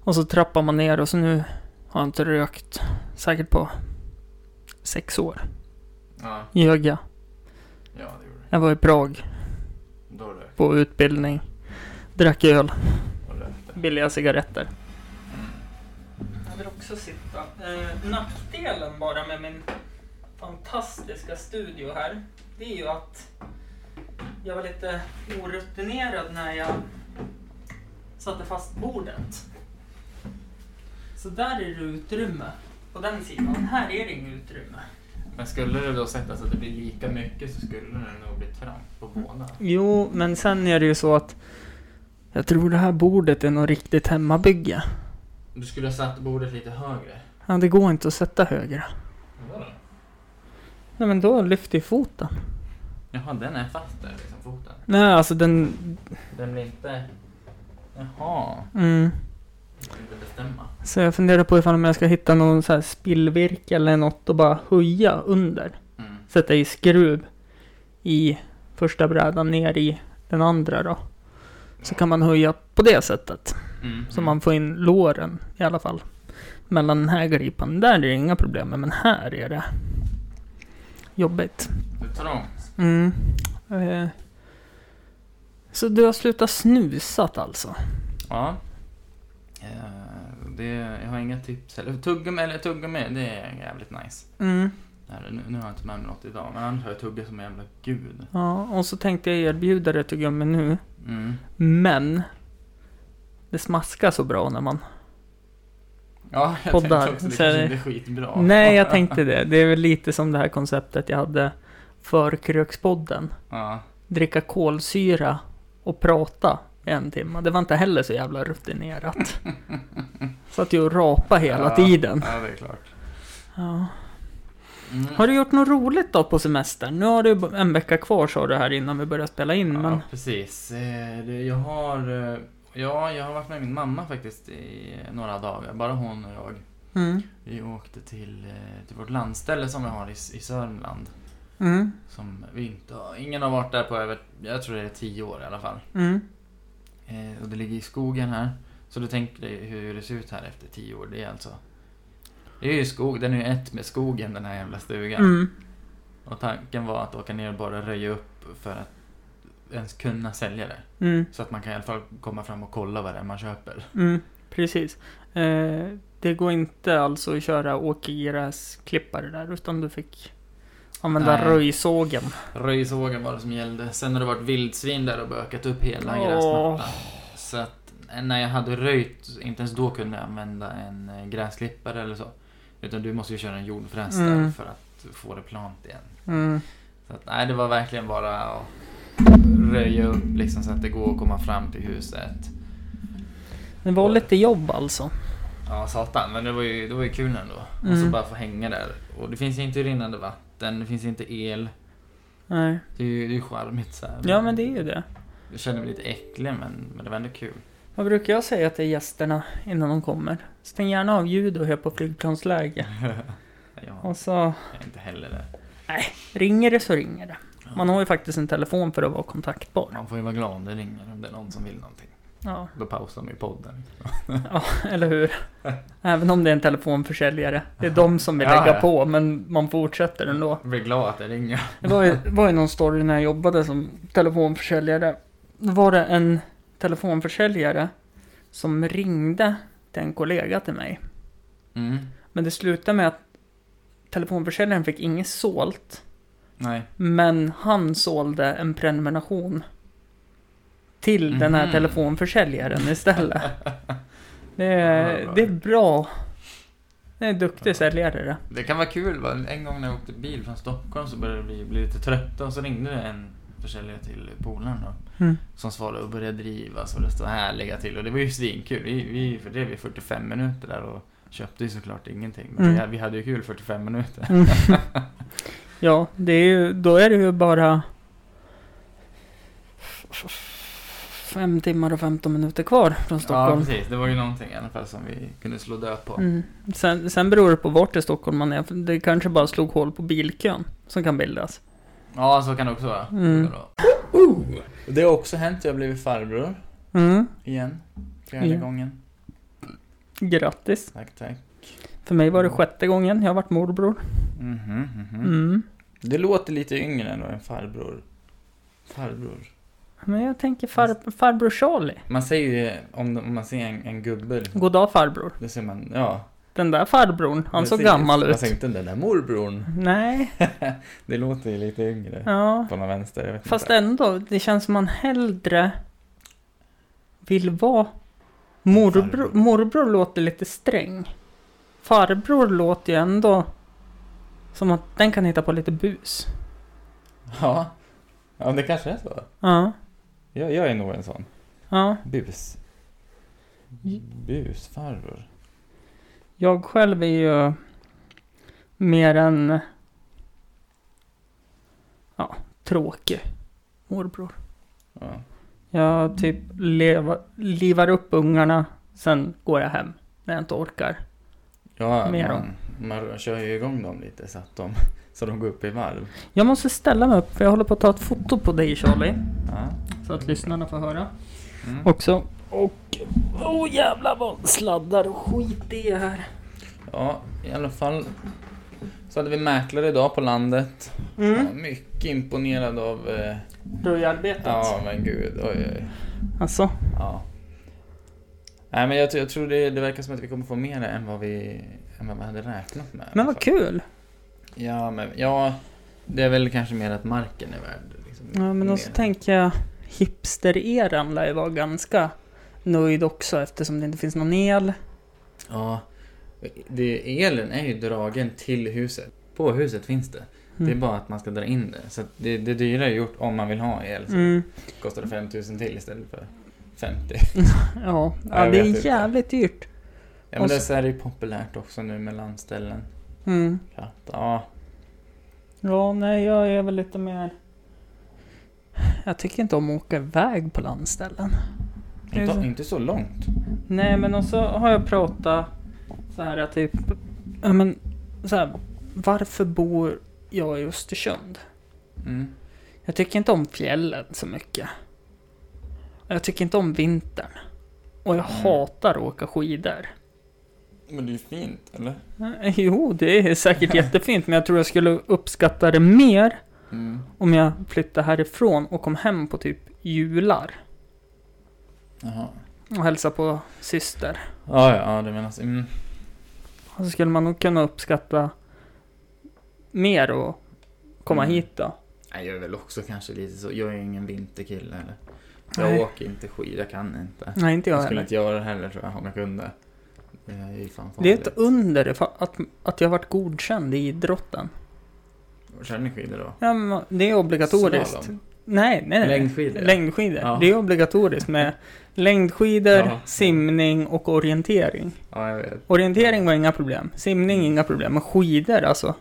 [SPEAKER 2] Och så trappar man ner och så nu har jag inte rökt säkert på sex år.
[SPEAKER 1] Ja,
[SPEAKER 2] Ljög jag.
[SPEAKER 1] ja, det gjorde det.
[SPEAKER 2] Jag var i Prag
[SPEAKER 1] Då rökte
[SPEAKER 2] på utbildning. Drack öl.
[SPEAKER 1] och rökte.
[SPEAKER 2] billiga cigaretter.
[SPEAKER 1] Mm.
[SPEAKER 2] Jag vill också sitta. Eh, nackdelen bara med min fantastiska studio här, det är ju att jag var lite orutinerad när jag satte fast bordet. Så där är det utrymme på den sidan. Här är det inget utrymme.
[SPEAKER 1] Men skulle det då sätta så att det blir lika mycket så skulle det nog bli tramp på båda.
[SPEAKER 2] Jo, men sen är det ju så att jag tror det här bordet är något riktigt hemmabygge.
[SPEAKER 1] Du skulle ha satt bordet lite högre.
[SPEAKER 2] Ja, det går inte att sätta högre.
[SPEAKER 1] Vadå?
[SPEAKER 2] Nej, men då lyfter ju foten.
[SPEAKER 1] Jaha, den är fast där liksom, foten.
[SPEAKER 2] Nej, alltså den...
[SPEAKER 1] Den blir inte... Jaha.
[SPEAKER 2] Mm.
[SPEAKER 1] Jag kan inte bestämma.
[SPEAKER 2] Så jag funderar på ifall jag ska hitta någon så här spillvirke eller något och bara höja under.
[SPEAKER 1] Mm.
[SPEAKER 2] Sätta i skruv i första brädan ner i den andra då. Så kan man höja på det sättet.
[SPEAKER 1] Mm.
[SPEAKER 2] Så man får in låren i alla fall. Mellan den här gripan. Där är det inga problem med, men här är det jobbigt.
[SPEAKER 1] Det är trångt.
[SPEAKER 2] Mm. Eh. Så du har slutat snusat alltså?
[SPEAKER 1] Ja. Eh, det, jag har inga tips heller. Tuggummi, eller tuggummi, det är jävligt nice.
[SPEAKER 2] Mm.
[SPEAKER 1] Nej, nu, nu har jag inte med mig något idag, men annars har jag tuggat som en jävla gud.
[SPEAKER 2] Ja, och så tänkte jag erbjuda det till gummen nu.
[SPEAKER 1] Mm.
[SPEAKER 2] Men det smaskar så bra när man...
[SPEAKER 1] Ja, jag
[SPEAKER 2] Poddar,
[SPEAKER 1] tänkte också det
[SPEAKER 2] så är
[SPEAKER 1] kanske
[SPEAKER 2] det-
[SPEAKER 1] inte är skitbra.
[SPEAKER 2] Nej, jag tänkte det. Det är väl lite som det här konceptet jag hade för Krökspodden.
[SPEAKER 1] Ja,
[SPEAKER 2] Dricka kolsyra och prata i en timme. Det var inte heller så jävla rutinerat. Satt ju och rapa hela
[SPEAKER 1] Ja.
[SPEAKER 2] tiden.
[SPEAKER 1] ja, det är klart.
[SPEAKER 2] Ja.
[SPEAKER 1] Mm.
[SPEAKER 2] Har du gjort något roligt då på semestern? Nu har du ju en vecka kvar sa du här innan vi började spela in. Men...
[SPEAKER 1] Ja, precis. Eh, det- Jag har, eh, ja, jag har varit med min mamma faktiskt i några dagar. Bara hon och jag.
[SPEAKER 2] Mm.
[SPEAKER 1] Vi åkte till, eh, till vårt landställe som vi har i, S- i Sörmland.
[SPEAKER 2] Mm.
[SPEAKER 1] Som vi inte har, ingen har varit där på över, jag tror det är tio år i alla fall.
[SPEAKER 2] Mm.
[SPEAKER 1] Eh, och det ligger i skogen här. Så du tänker dig hur det ser ut här efter tio år. Det är alltså... Det är ju skog, den är ju ett med skogen den här jävla stugan.
[SPEAKER 2] Mm.
[SPEAKER 1] Och tanken var att åka ner och bara röja upp för att ens kunna sälja det.
[SPEAKER 2] Mm.
[SPEAKER 1] Så att man kan i alla fall komma fram och kolla vad det är man köper.
[SPEAKER 2] Mm, precis. Eh, det går inte alltså att köra åkergräsklippare där, utan du fick använda
[SPEAKER 1] Nej.
[SPEAKER 2] röjsågen.
[SPEAKER 1] Röjsågen var det som gällde. Sen har det varit vildsvin där och bökat upp hela
[SPEAKER 2] Åh.
[SPEAKER 1] gräsmattan. Så att eh, när jag hade röjt, inte ens då kunde jag använda en eh, gräsklippare eller så. Utan du måste ju köra en jordfräs där
[SPEAKER 2] Mm.
[SPEAKER 1] för att få det plant igen.
[SPEAKER 2] Mm,
[SPEAKER 1] Så att, nej, det var verkligen bara att röja upp liksom, så att det går att komma fram till huset.
[SPEAKER 2] det var lite jobb alltså.
[SPEAKER 1] Ja, satan. Men det var ju, det var ju kul ändå. Och så
[SPEAKER 2] Mm.
[SPEAKER 1] bara få hänga där. Och det finns ju inte rinnande vatten, det finns inte el.
[SPEAKER 2] Nej.
[SPEAKER 1] Det är ju det är ju charmigt så här.
[SPEAKER 2] Ja, men det är ju det.
[SPEAKER 1] Jag kände mig lite äcklig, men, men det var ändå kul.
[SPEAKER 2] Vad brukar jag säga till gästerna innan de kommer? Stäng gärna av ljud och hör på flygplansläge.
[SPEAKER 1] Ja,
[SPEAKER 2] Och så
[SPEAKER 1] jag är inte heller det.
[SPEAKER 2] ringer det så ringer det. Man har ju faktiskt en telefon för att vara kontaktbar.
[SPEAKER 1] Man får ju vara glad om det ringer, om det är någon som vill någonting.
[SPEAKER 2] Ja,
[SPEAKER 1] Då pausar man ju podden.
[SPEAKER 2] eller hur? Även om det är en telefonförsäljare. Det är de som vill
[SPEAKER 1] Ja,
[SPEAKER 2] lägga
[SPEAKER 1] ja.
[SPEAKER 2] på, men man fortsätter ändå.
[SPEAKER 1] Jag blir glad att det ringer.
[SPEAKER 2] Det var ju, var ju någon story när jag jobbade som telefonförsäljare. Då var det en telefonförsäljare som ringde till en kollega till mig.
[SPEAKER 1] Mm.
[SPEAKER 2] Men det slutade med att telefonförsäljaren fick inget sålt.
[SPEAKER 1] Nej.
[SPEAKER 2] Men han sålde en prenumeration till den här
[SPEAKER 1] Mhm.
[SPEAKER 2] telefonförsäljaren istället. Det
[SPEAKER 1] Ja,
[SPEAKER 2] är,
[SPEAKER 1] bra.
[SPEAKER 2] det är bra. Det är en duktig säljare det.
[SPEAKER 1] Det kan vara kul va? En gång när jag åkte bil från Stockholm så började jag bli, bli lite trött och så ringde det en försäljare till polaren då.
[SPEAKER 2] Mm.
[SPEAKER 1] Som svarade och började driva så det stod härliga till och det var ju svinkul. Vi, vi fördrev ju 45 minuter där och köpte ju såklart ingenting. Men
[SPEAKER 2] Mm.
[SPEAKER 1] vi, vi hade ju kul 45 minuter.
[SPEAKER 2] Mm. Ja, det är ju, då är det ju bara fem timmar och 15 minuter kvar från
[SPEAKER 1] Ja
[SPEAKER 2] Stockholm.
[SPEAKER 1] precis, det var ju någonting i alla fall som vi kunde slå död på.
[SPEAKER 2] Mm. Sen, sen beror det på vart i Stockholm man är. för Det kanske bara slog hål på bilkön som kan bildas.
[SPEAKER 1] Ja så kan det också vara.
[SPEAKER 2] Mm.
[SPEAKER 1] Det har också hänt, jag har blivit farbror
[SPEAKER 2] Mm.
[SPEAKER 1] igen. Fjärde
[SPEAKER 2] Ja.
[SPEAKER 1] gången.
[SPEAKER 2] Grattis!
[SPEAKER 1] Tack tack.
[SPEAKER 2] För mig
[SPEAKER 1] Mm.
[SPEAKER 2] var det sjätte gången jag har varit morbror.
[SPEAKER 1] Mhm, mhm.
[SPEAKER 2] Mm.
[SPEAKER 1] Det låter lite yngre än en farbror. Farbror.
[SPEAKER 2] Men jag tänker far, farbror Charlie.
[SPEAKER 1] Man säger ju om, om man ser en, en gubbe, liksom,
[SPEAKER 2] God dag farbror.
[SPEAKER 1] då ser man, ja.
[SPEAKER 2] Den där farbrorn, han såg
[SPEAKER 1] precis.
[SPEAKER 2] gammal
[SPEAKER 1] Man
[SPEAKER 2] ut.
[SPEAKER 1] säger inte den där morbrorn.
[SPEAKER 2] Nej,
[SPEAKER 1] Det låter ju lite yngre.
[SPEAKER 2] ja.
[SPEAKER 1] På någon vänster, jag vet
[SPEAKER 2] Fast
[SPEAKER 1] inte.
[SPEAKER 2] ändå, det känns som man hellre vill vara morbror.
[SPEAKER 1] Farbror.
[SPEAKER 2] Morbror låter lite sträng. Farbror låter ju ändå som att den kan hitta på lite bus.
[SPEAKER 1] Ja. Ja, det kanske är så.
[SPEAKER 2] Ja,
[SPEAKER 1] Jag, jag är nog en sån.
[SPEAKER 2] ja.
[SPEAKER 1] Bus. Busfarbror.
[SPEAKER 2] Jag själv är ju mer än ja, tråkig morbror.
[SPEAKER 1] Ja.
[SPEAKER 2] Jag typ leva, livar upp ungarna, sen går jag hem när jag inte orkar.
[SPEAKER 1] Ja,
[SPEAKER 2] Mer
[SPEAKER 1] man, man kör ju igång dem lite så att de, så de går upp i varv.
[SPEAKER 2] Jag måste ställa mig upp för jag håller på att ta ett foto på dig Charlie.
[SPEAKER 1] Ja.
[SPEAKER 2] Så att lyssnarna får höra
[SPEAKER 1] Mm.
[SPEAKER 2] också. Och... Åh oh, jävlar vad sladdar och skit det är här.
[SPEAKER 1] ja, i alla fall. Så hade vi mäklare idag på landet.
[SPEAKER 2] Mm.
[SPEAKER 1] Ja, mycket imponerad av... Eh,
[SPEAKER 2] Röjarbetet.
[SPEAKER 1] ja, men gud. Oj, oj.
[SPEAKER 2] Alltså.
[SPEAKER 1] Ja. Nej, men jag, tror- jag tror det, det verkar som att vi kommer få mer än vad vi, än vad vi hade räknat med. i
[SPEAKER 2] Men
[SPEAKER 1] alla
[SPEAKER 2] vad
[SPEAKER 1] fall.
[SPEAKER 2] kul.
[SPEAKER 1] Ja, men ja, det är väl kanske mer att marken är värd. Liksom,
[SPEAKER 2] Ja, men alltså,
[SPEAKER 1] mer.
[SPEAKER 2] också tänker jag hipster-eran lär ju vara ganska nöjd också eftersom det inte finns någon el.
[SPEAKER 1] Ja, det, elen är ju dragen till huset. På huset finns det. Det är
[SPEAKER 2] Mm.
[SPEAKER 1] bara att man ska dra in det. Så att det, det dyra är gjort om man vill ha el. Så
[SPEAKER 2] Mm.
[SPEAKER 1] kostar det 5000 till istället för 50.
[SPEAKER 2] Ja,
[SPEAKER 1] Ja,
[SPEAKER 2] ja
[SPEAKER 1] jag
[SPEAKER 2] det
[SPEAKER 1] vet inte.
[SPEAKER 2] är jävligt dyrt.
[SPEAKER 1] Ja, men
[SPEAKER 2] Och
[SPEAKER 1] det så är det ju populärt också nu med landställen.
[SPEAKER 2] Mm.
[SPEAKER 1] Att, ja,
[SPEAKER 2] Ja, nej, jag är väl lite mer... Jag tycker inte om att åka iväg på landställen.
[SPEAKER 1] inte,
[SPEAKER 2] Precis.
[SPEAKER 1] inte så långt.
[SPEAKER 2] Nej, men också har jag pratat så här att typ... Ja, men så här, varför bor jag i Östersund?
[SPEAKER 1] Mm.
[SPEAKER 2] Jag tycker inte om fjällen så mycket. Och Jag tycker inte om vintern. Och jag
[SPEAKER 1] Mm.
[SPEAKER 2] hatar att åka skidor.
[SPEAKER 1] Men det är ju fint, eller?
[SPEAKER 2] Eh, Jo, det är säkert jättefint, men jag tror jag skulle uppskatta det mer
[SPEAKER 1] Mm.
[SPEAKER 2] om jag flyttade härifrån och kom hem på typ jular
[SPEAKER 1] Jaha.
[SPEAKER 2] och hälsa på syster.
[SPEAKER 1] Ja, ja, ja, det menas. Mm.
[SPEAKER 2] Och så skulle man nog kunna uppskatta mer och komma
[SPEAKER 1] Mm.
[SPEAKER 2] hit då.
[SPEAKER 1] Nej, Jag är väl också kanske lite så. Jag är ju ingen vinterkille heller. Jag
[SPEAKER 2] Nej.
[SPEAKER 1] åker inte skidor, jag kan inte.
[SPEAKER 2] Nej, inte jag
[SPEAKER 1] Jag skulle
[SPEAKER 2] heller.
[SPEAKER 1] inte göra det heller tror jag om jag kunde. Det är ju fan
[SPEAKER 2] Det är
[SPEAKER 1] farligt.
[SPEAKER 2] ett under ifall- att, att jag varit godkänd i idrotten.
[SPEAKER 1] Kör ni skidor då?
[SPEAKER 2] Ja, men det är obligatoriskt.
[SPEAKER 1] Slalom.
[SPEAKER 2] Nej, nej, nej.
[SPEAKER 1] Längdskidor?
[SPEAKER 2] Längdskidor.
[SPEAKER 1] Ja.
[SPEAKER 2] Det är obligatoriskt med längdskidor,
[SPEAKER 1] Ja.
[SPEAKER 2] simning och orientering.
[SPEAKER 1] Ja, jag vet.
[SPEAKER 2] Orientering var inga problem, simning
[SPEAKER 1] Mm.
[SPEAKER 2] inga problem, men skidor alltså.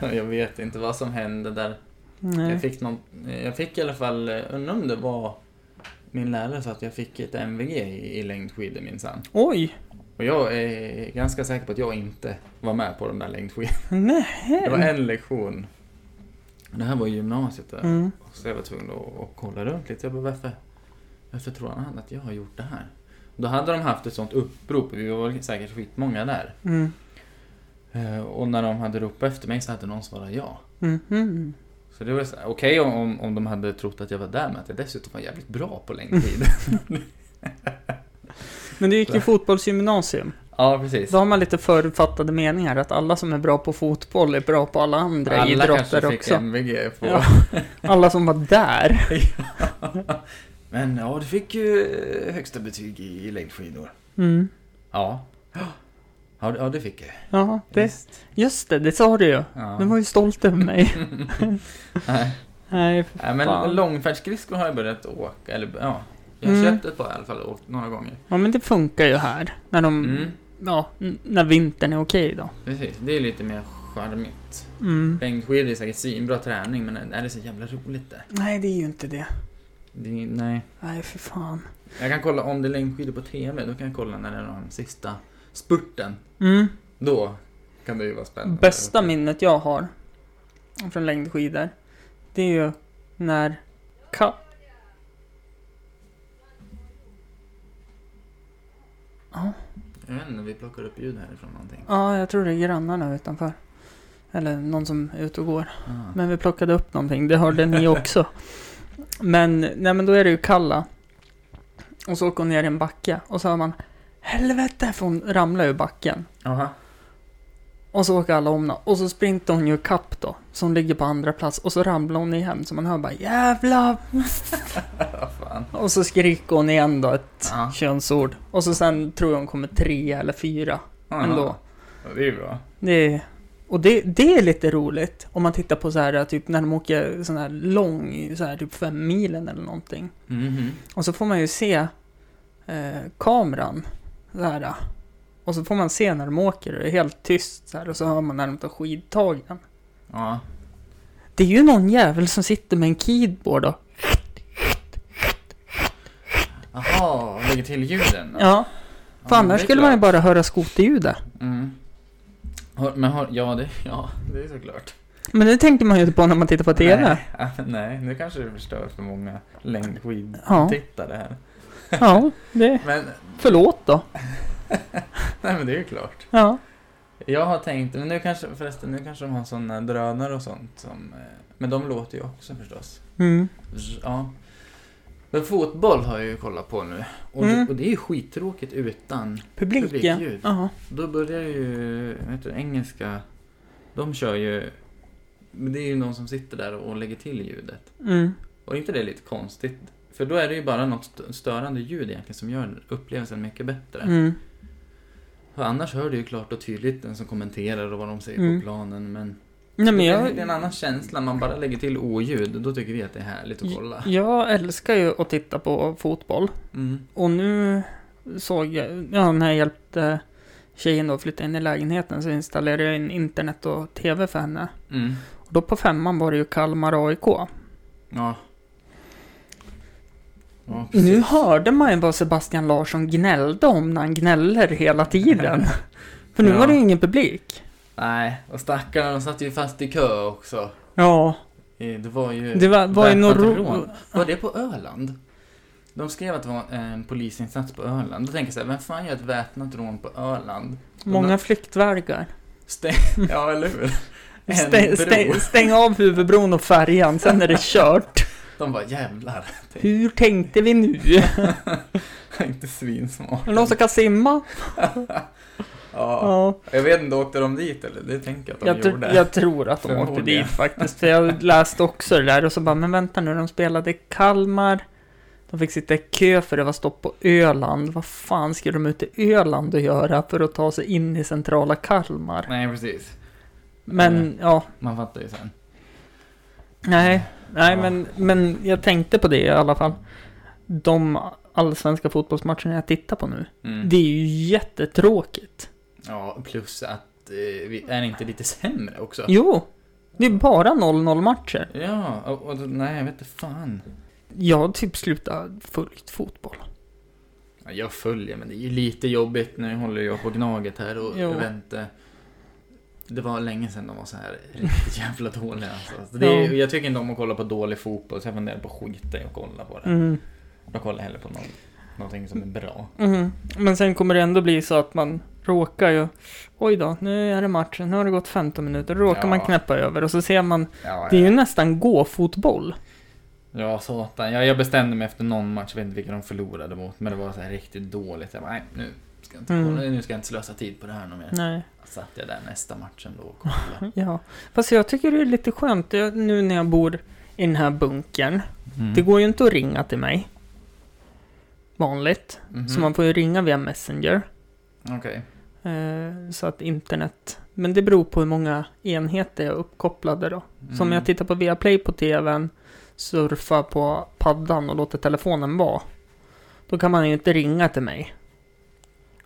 [SPEAKER 1] Jag vet inte vad som hände där. Jag
[SPEAKER 2] Nej.
[SPEAKER 1] fick, någon, jag fick i alla fall, eh, undrar om det var min lärare sa att jag fick ett MVG i, i längdskidor minsann.
[SPEAKER 2] Oj!
[SPEAKER 1] Och jag är ganska säker på att jag inte var med på de där längdskidorna. Det var
[SPEAKER 2] Nej.
[SPEAKER 1] en lektion. Det här var i gymnasiet där.
[SPEAKER 2] Mm.
[SPEAKER 1] Så jag var tvungen att, att kolla runt lite. Jag bara, varför, varför tror han att jag har gjort det här? Då hade de haft ett sånt upprop. Vi var säkert skitmånga där.
[SPEAKER 2] Mm.
[SPEAKER 1] Eh, Och när de hade ropat efter mig så hade någon svarat ja.
[SPEAKER 2] Mm. Mm.
[SPEAKER 1] Så det var så här, okej om- om, om de hade trott att jag var där men att jag dessutom var jävligt bra på längdskidor.
[SPEAKER 2] Mm. Men du gick ju fotbollsgymnasium.
[SPEAKER 1] ja, precis.
[SPEAKER 2] Då har man lite förutfattade meningar att alla som är bra på fotboll är bra på alla andra
[SPEAKER 1] Alla
[SPEAKER 2] idrotter
[SPEAKER 1] kanske fick
[SPEAKER 2] också.
[SPEAKER 1] MVG på...
[SPEAKER 2] Ja. Alla som var där.
[SPEAKER 1] Men ja, du fick ju eh, högsta betyg i i längdskidor.
[SPEAKER 2] Mm.
[SPEAKER 1] Ja. Ja, det- ja det fick jag.
[SPEAKER 2] Ja, det,
[SPEAKER 1] Visst.
[SPEAKER 2] just det, det sa du ju.
[SPEAKER 1] Ja.
[SPEAKER 2] Du var ju stolt över mig.
[SPEAKER 1] Nej.
[SPEAKER 2] Nej,
[SPEAKER 1] Nej men
[SPEAKER 2] Fan.
[SPEAKER 1] långfärdsskridskor har jag börjat åka, eller ja. Jag har
[SPEAKER 2] Mm.
[SPEAKER 1] köpt ett par i alla fall och åkt några gånger.
[SPEAKER 2] Ja men det funkar ju här. När de...
[SPEAKER 1] Mm.
[SPEAKER 2] Ja, n- när vintern är okej då.
[SPEAKER 1] Precis, det är lite mer charmigt.
[SPEAKER 2] Mm.
[SPEAKER 1] Längdskidor är säkert svinbra träning men är det så jävla roligt det?
[SPEAKER 2] Nej, det är ju inte det.
[SPEAKER 1] det är- nej.
[SPEAKER 2] Nej, för fan.
[SPEAKER 1] Jag kan kolla om det är längdskidor på TV, då kan jag kolla när det är de sista spurten.
[SPEAKER 2] Mm.
[SPEAKER 1] Då kan det ju vara spännande.
[SPEAKER 2] Bästa minnet jag har från längdskidor, det är ju när Ka...
[SPEAKER 1] Jag vet inte, vi plockar upp ljud härifrån någonting.
[SPEAKER 2] Ja, jag tror det är grannarna utanför. Eller någon som är ute och går.
[SPEAKER 1] Ah.
[SPEAKER 2] Men vi plockade upp någonting, det hörde ni också. Men, nej men då är det ju Kalla. Och så åker hon ner i en backe och så hör man Helvete! För hon ramlar ur backen.
[SPEAKER 1] Jaha.
[SPEAKER 2] Och så åker alla om henne. Och så sprintar hon ju kapp då. Så hon ligger på andra plats. Och så ramlar hon igen. Så man hör bara jävla
[SPEAKER 1] Vad fan.
[SPEAKER 2] Och så skriker hon igen då ett
[SPEAKER 1] Ja.
[SPEAKER 2] könsord. Och så sen tror jag hon kommer trea eller fyra
[SPEAKER 1] Jaha.
[SPEAKER 2] ändå.
[SPEAKER 1] Ja, Det är ju bra.
[SPEAKER 2] Det är, och det, det är lite roligt. Om man tittar på så här typ när de åker sån här lång, så här typ fem milen eller någonting.
[SPEAKER 1] Mhm.
[SPEAKER 2] Och så får man ju se eh, kameran så här. Och så får man se när de åker och det är helt tyst så här. Och så hör man när de tar skidtagen.
[SPEAKER 1] Ja.
[SPEAKER 2] Det är ju någon jävel som sitter med en keyboard då.
[SPEAKER 1] Jaha, lägger till ljuden. då.
[SPEAKER 2] Ja,
[SPEAKER 1] Ja,
[SPEAKER 2] för
[SPEAKER 1] men
[SPEAKER 2] annars
[SPEAKER 1] det är
[SPEAKER 2] skulle man ju
[SPEAKER 1] klart.
[SPEAKER 2] bara höra skoterljudet.
[SPEAKER 1] Mm. Har, men har, ja, det, ja, det är såklart.
[SPEAKER 2] Men det tänker man ju inte på när man tittar på TV.
[SPEAKER 1] Nej, ja, nej, nu kanske det förstör för många längdskidtittare här.
[SPEAKER 2] Ja, det...
[SPEAKER 1] Men,
[SPEAKER 2] Förlåt då.
[SPEAKER 1] nej men det är ju klart.
[SPEAKER 2] Ja.
[SPEAKER 1] Jag har tänkt, men nu kanske, förresten, nu kanske de har sådana drönare och sånt som, eh, men de låter ju också förstås.
[SPEAKER 2] Mm.
[SPEAKER 1] Zzz, Ja. Men fotboll har jag ju kollat på nu. Och,
[SPEAKER 2] Mm.
[SPEAKER 1] det, och det är ju skittråkigt utan.
[SPEAKER 2] Publiken.
[SPEAKER 1] Publikljud.
[SPEAKER 2] Ja.
[SPEAKER 1] Då börjar ju, vad heter det, engelska De kör ju... Men det är ju någon som sitter där och lägger till ljudet.
[SPEAKER 2] Mm.
[SPEAKER 1] Och inte det är lite konstigt? För då är det ju bara något st- störande ljud egentligen som gör upplevelsen mycket bättre.
[SPEAKER 2] Mm.
[SPEAKER 1] För annars hör du ju klart och tydligt den som kommenterar och vad de säger
[SPEAKER 2] Mm.
[SPEAKER 1] på planen. Men,
[SPEAKER 2] Nej, men
[SPEAKER 1] det, är, det är
[SPEAKER 2] jag,
[SPEAKER 1] en annan känsla. Man bara lägger till oljud. Då tycker vi att det är härligt att kolla.
[SPEAKER 2] jag älskar ju att titta på fotboll.
[SPEAKER 1] Mm.
[SPEAKER 2] Och nu såg jag, ja, när jag hjälpte tjejen då att flytta in i lägenheten så installerade jag in internet och tv för henne.
[SPEAKER 1] Mm.
[SPEAKER 2] Och då på femman var det ju Kalmar AIK.
[SPEAKER 1] Ja. Ja, precis.
[SPEAKER 2] Nu hörde man ju vad Sebastian Larsson gnällde om när han gnäller hela tiden. För nu
[SPEAKER 1] Ja.
[SPEAKER 2] var det ju ingen publik.
[SPEAKER 1] Nej, och stackarna de satt ju fast i kö också.
[SPEAKER 2] Ja,
[SPEAKER 1] Eh, Det var ju...
[SPEAKER 2] det var, var ju något
[SPEAKER 1] väpnat
[SPEAKER 2] ro-
[SPEAKER 1] rån. Var det på Öland? De skrev att det var en polisinsats på Öland. Då tänker jag så här, vem fan gör ett väpnat rån på Öland?
[SPEAKER 2] Många flyktvägar.
[SPEAKER 1] Stäng... Ja, eller hur? En
[SPEAKER 2] Stäng,
[SPEAKER 1] bro.
[SPEAKER 2] stäng, stäng av huvudbron och färjan, sen är det kört.
[SPEAKER 1] De bara jävlar.
[SPEAKER 2] Hur tänkte vi nu?
[SPEAKER 1] Inte svinsmart.
[SPEAKER 2] Är det någon som kan simma?
[SPEAKER 1] Ja.
[SPEAKER 2] Ja,
[SPEAKER 1] Jag vet inte, åkte de dit eller? Det tänker jag att de
[SPEAKER 2] jag, tr-
[SPEAKER 1] gjorde.
[SPEAKER 2] jag tror att de åkte
[SPEAKER 1] Förmodligen.
[SPEAKER 2] dit faktiskt. För jag läste också det där och så bara, men vänta nu, de spelade i Kalmar. De fick sitta i kö för det var stopp på Öland. Vad fan skulle de ut till Öland och göra för att ta sig in i centrala Kalmar?
[SPEAKER 1] Nej, precis.
[SPEAKER 2] Men ja,
[SPEAKER 1] Man fattar ju sen.
[SPEAKER 2] Nej, nej
[SPEAKER 1] Ja.
[SPEAKER 2] men, men jag tänkte på det i alla fall. De allsvenska fotbollsmatcherna jag tittar på nu.
[SPEAKER 1] Mm.
[SPEAKER 2] Det är ju jättetråkigt.
[SPEAKER 1] Ja, plus att eh, vi är inte lite sämre också.
[SPEAKER 2] Jo, det är bara 0-0 matcher.
[SPEAKER 1] Ja, och, och nej, jag vet inte fan.
[SPEAKER 2] Jag har typ slutat följt fotboll.
[SPEAKER 1] Ja, Jag följer, men det är ju lite jobbigt. Nu håller jag på Gnaget här och
[SPEAKER 2] Jo.
[SPEAKER 1] väntar. Det var länge sedan de var så här riktigt jävla dåliga. Alltså. Så Det är,
[SPEAKER 2] Ja.
[SPEAKER 1] Jag tycker inte om att kolla på dålig fotboll, så jag funderar på att skita i att kolla på det.
[SPEAKER 2] Mm.
[SPEAKER 1] Jag kollar hellre på någon, någonting som är bra.
[SPEAKER 2] Mm. Men sen kommer det ändå bli så att man råkar ju... Oj då, nu är det matchen, nu har det gått 15 minuter. Då råkar
[SPEAKER 1] Ja.
[SPEAKER 2] man knäppa över och så ser man...
[SPEAKER 1] Ja,
[SPEAKER 2] Det är ju nästan gå-fotboll.
[SPEAKER 1] ja satan. Jag, jag bestämde mig efter någon match, jag vet inte vilka de förlorade mot, men det var så här riktigt dåligt. Jag bara, nej, nu ska jag inte,
[SPEAKER 2] Mm.
[SPEAKER 1] kolla, nu ska jag inte slösa tid på det här någon mer.
[SPEAKER 2] Nej. Mm.
[SPEAKER 1] Satt jag där nästa matchen då och kollade.
[SPEAKER 2] Ja, fast jag tycker det är lite skönt jag, nu när jag bor i den här bunkern.
[SPEAKER 1] Mm.
[SPEAKER 2] Det går ju inte att ringa till mig. Vanligt.
[SPEAKER 1] Mhm.
[SPEAKER 2] Så man får ju ringa via Messenger.
[SPEAKER 1] Okej.
[SPEAKER 2] Eh, så att internet... Men det beror på hur många enheter jag uppkopplade då. Så om
[SPEAKER 1] Mm.
[SPEAKER 2] jag tittar på Viaplay på TVn, surfar på paddan och låter telefonen vara. Då kan man ju inte ringa till mig.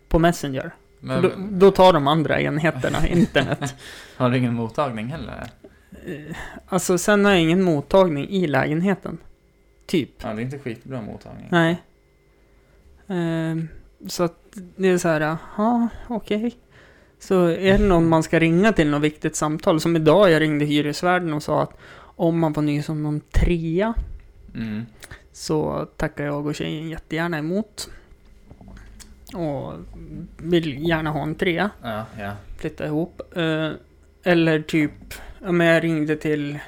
[SPEAKER 2] På Messenger.
[SPEAKER 1] Men,
[SPEAKER 2] Då, då tar de andra enheterna internet.
[SPEAKER 1] Har du ingen mottagning heller?
[SPEAKER 2] Eh, Alltså sen har jag ingen mottagning i lägenheten. Typ.
[SPEAKER 1] Ja, det är inte skitbra mottagning.
[SPEAKER 2] Nej. Ehm, så att det är så här, ja okej. Så är det någon man ska ringa till något viktigt samtal. Som idag jag ringde hyresvärden och sa att om man var ny som någon trea
[SPEAKER 1] Mm.
[SPEAKER 2] så tackar jag och tjejen jättegärna emot. Och vill gärna ha en trea
[SPEAKER 1] Ja, ja.
[SPEAKER 2] flytta ihop. Eh, eller typ, ja, men jag ringde till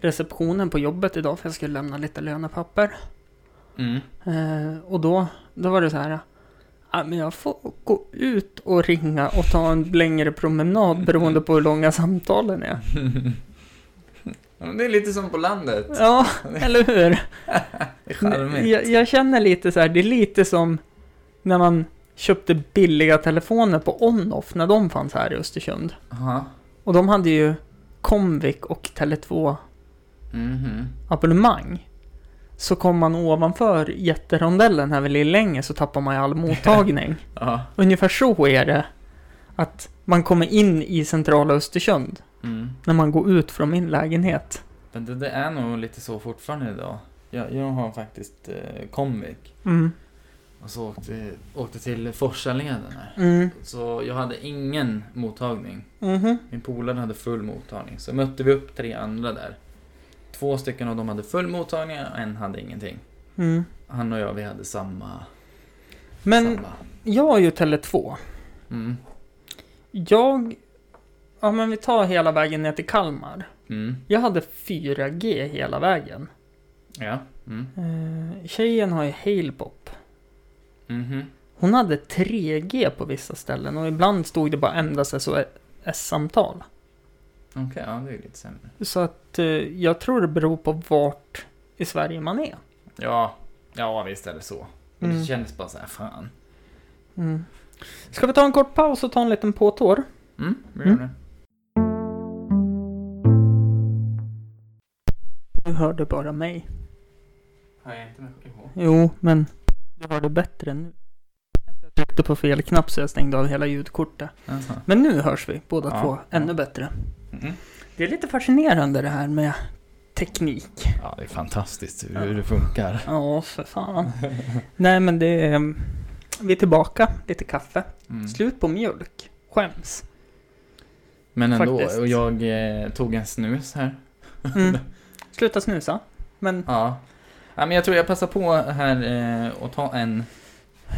[SPEAKER 2] receptionen på jobbet idag för jag skulle lämna lite lönepapper.
[SPEAKER 1] Mm.
[SPEAKER 2] Eh, och då, då var det så här, ja, men jag får gå ut och ringa och ta en längre promenad beroende på hur långa samtalen är.
[SPEAKER 1] Ja, men det är lite som på landet.
[SPEAKER 2] Ja, eller hur?
[SPEAKER 1] Det är charmigt.
[SPEAKER 2] Jag, jag känner lite så här, det är lite som när man köpte billiga telefoner på Onoff när de fanns här i Östersund.
[SPEAKER 1] Jaha.
[SPEAKER 2] Och de hade ju Comviq och Tele2
[SPEAKER 1] Mhm.
[SPEAKER 2] abonnemang så kom man ovanför jätterondellen här vid Lillänge så tappar man ju all mottagning.
[SPEAKER 1] Ja.
[SPEAKER 2] Ungefär så är det att man kommer in i centrala Östersund
[SPEAKER 1] Mm.
[SPEAKER 2] när man går ut från min lägenhet.
[SPEAKER 1] Men det, det är nog lite så fortfarande idag. Jag, jag har faktiskt eh, Comviq.
[SPEAKER 2] Mm.
[SPEAKER 1] Och så åkte, åkte till Forsaleden här.
[SPEAKER 2] Mm.
[SPEAKER 1] Så jag hade ingen mottagning.
[SPEAKER 2] Mhm.
[SPEAKER 1] Min polare hade full mottagning. Så mötte vi upp tre andra där. Två stycken av dem hade full mottagning och en hade ingenting.
[SPEAKER 2] Mm.
[SPEAKER 1] Han och jag, vi hade samma.
[SPEAKER 2] Men
[SPEAKER 1] samma.
[SPEAKER 2] jag har ju Tele2.
[SPEAKER 1] Mm.
[SPEAKER 2] Jag... Ja men vi tar hela vägen ner till Kalmar.
[SPEAKER 1] Mm.
[SPEAKER 2] Jag hade 4G hela vägen.
[SPEAKER 1] Ja. Mm.
[SPEAKER 2] Eh, tjejen har ju Halebop.
[SPEAKER 1] Mhm.
[SPEAKER 2] Hon hade 3G på vissa ställen och ibland stod det bara endast SOS-samtal.
[SPEAKER 1] Okej, ja det är lite sämre.
[SPEAKER 2] Så att eh, jag tror det beror på vart i Sverige man är.
[SPEAKER 1] Ja, ja visst är det så. Men
[SPEAKER 2] Mm.
[SPEAKER 1] Det kändes bara så här, fan.
[SPEAKER 2] Mm. Ska vi ta en kort paus och ta en liten påtår?
[SPEAKER 1] Mm, vi gör
[SPEAKER 2] Mm.
[SPEAKER 1] det.
[SPEAKER 2] Du hörde bara mig.
[SPEAKER 1] Har jag inte med ihåg?
[SPEAKER 2] Jo, men du hörde bättre nu. Jag tryckte på fel knapp så jag stängde av hela ljudkortet.
[SPEAKER 1] Jaha.
[SPEAKER 2] Men nu hörs vi båda
[SPEAKER 1] Ja,
[SPEAKER 2] två
[SPEAKER 1] ja.
[SPEAKER 2] ännu bättre.
[SPEAKER 1] Mm.
[SPEAKER 2] Det är lite fascinerande det här med teknik.
[SPEAKER 1] Ja, det är fantastiskt hur hur det funkar.
[SPEAKER 2] Ja, för fan. Nej, men det är... mm, Vi är tillbaka, lite kaffe.
[SPEAKER 1] Mm.
[SPEAKER 2] Slut på mjölk. Skäms.
[SPEAKER 1] Men ändå,
[SPEAKER 2] Faktiskt.
[SPEAKER 1] och jag eh, tog en snus här.
[SPEAKER 2] Mm. Sluta snusa. Men
[SPEAKER 1] Ja. ja. men jag tror jag passar på här eh, och ta en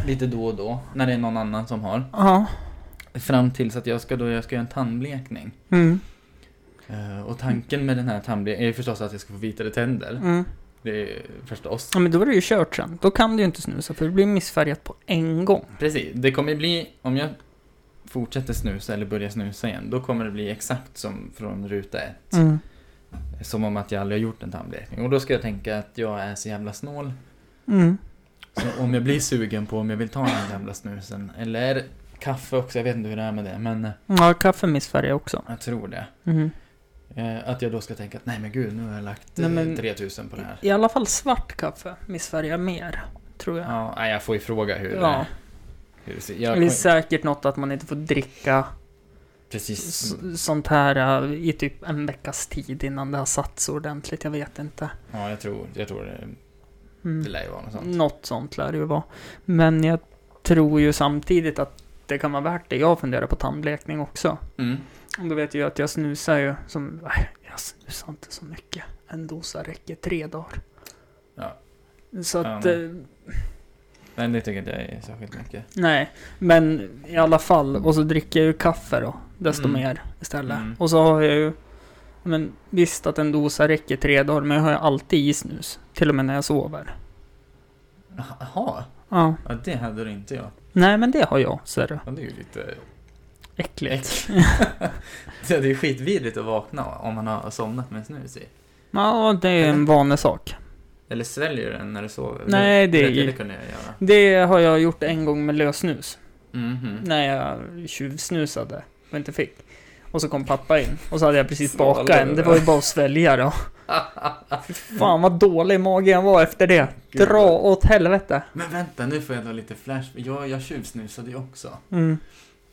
[SPEAKER 1] lite då och då, när det är någon annan som har.
[SPEAKER 2] ja.
[SPEAKER 1] Fram tills att jag ska, då, jag ska göra en tandblekning.
[SPEAKER 2] Mm.
[SPEAKER 1] Eh, och tanken med den här tandblekningen är ju förstås att jag ska få vitare tänder.
[SPEAKER 2] Mm.
[SPEAKER 1] Det är förstås.
[SPEAKER 2] Ja, men då är det ju kört sen. Då kan du ju inte snusa för det blir missfärgat på en gång.
[SPEAKER 1] Precis, det kommer ju bli, om jag fortsätter snusa eller börjar snusa igen, då kommer det bli exakt som från ruta ett.
[SPEAKER 2] Mm.
[SPEAKER 1] Som om att jag aldrig har gjort en tandblekning. Och då ska jag tänka att jag är så jävla snål.
[SPEAKER 2] Mm.
[SPEAKER 1] Så om jag blir sugen på om jag vill ta den jävla snusen. Eller kaffe också, jag vet inte hur det är med det. Men
[SPEAKER 2] Ja, kaffe missfärgar också.
[SPEAKER 1] jag tror det.
[SPEAKER 2] Mm.
[SPEAKER 1] Eh, att jag då ska tänka att nej men gud, nu har jag lagt
[SPEAKER 2] Nej,
[SPEAKER 1] eh,
[SPEAKER 2] men-
[SPEAKER 1] 3000 på det här.
[SPEAKER 2] I alla fall svart kaffe missfärgar mer, tror jag.
[SPEAKER 1] Ja, nej, jag får ju fråga hur,
[SPEAKER 2] Ja,
[SPEAKER 1] hur det ser
[SPEAKER 2] det
[SPEAKER 1] jag,
[SPEAKER 2] är säkert något att man inte får dricka
[SPEAKER 1] Precis.
[SPEAKER 2] s- sånt här eh, i typ en veckas tid innan det har satt så ordentligt. Jag vet inte.
[SPEAKER 1] Ja, jag tror, jag tror det, det
[SPEAKER 2] Mm.
[SPEAKER 1] lär ju vara något sånt.
[SPEAKER 2] Något sånt lär det ju vara. Men jag tror ju samtidigt att det kan vara värt det. Jag funderar på tandblekning också.
[SPEAKER 1] Mm.
[SPEAKER 2] Och då vet jag ju att jag snusar ju som... Nej, jag snusar inte så mycket. En dosa räcker tre dagar.
[SPEAKER 1] Ja.
[SPEAKER 2] Så att...
[SPEAKER 1] Ja,
[SPEAKER 2] eh,
[SPEAKER 1] Men det tycker jag inte jag är särskilt mycket.
[SPEAKER 2] Nej, men i alla fall. Och så dricker jag ju kaffe då. Desto
[SPEAKER 1] Mm.
[SPEAKER 2] mer istället.
[SPEAKER 1] Mm.
[SPEAKER 2] Och så har jag ju... Men visst att en dosa räcker tre dagar, men jag har ju alltid i snus. Till och med när jag sover.
[SPEAKER 1] Jaha,
[SPEAKER 2] Ja.
[SPEAKER 1] ja, det hade du inte jag.
[SPEAKER 2] Nej, men det har jag, ser du.
[SPEAKER 1] Ja, det är ju lite
[SPEAKER 2] Äckligt.
[SPEAKER 1] äckligt. det är ju skitvidrigt att vakna om man har somnat med snus i.
[SPEAKER 2] Ja, det är en vanesak.
[SPEAKER 1] Eller sväljer du den när du sover?
[SPEAKER 2] Nej, det är-
[SPEAKER 1] Det, det kunde jag göra.
[SPEAKER 2] Det har jag gjort en gång med lösnus.
[SPEAKER 1] Mhm.
[SPEAKER 2] när jag tjuvsnusade och inte fick. Och så kom pappa in och så hade jag precis
[SPEAKER 1] Svalde
[SPEAKER 2] bakat en.
[SPEAKER 1] det
[SPEAKER 2] Det
[SPEAKER 1] där.
[SPEAKER 2] var ju bara att svälja då. Fy Fan vad dålig mage jag var efter det. Dra åt helvete.
[SPEAKER 1] Men vänta, nu får jag då lite flash. Jag, jag tjuvsnusade ju också.
[SPEAKER 2] Mm.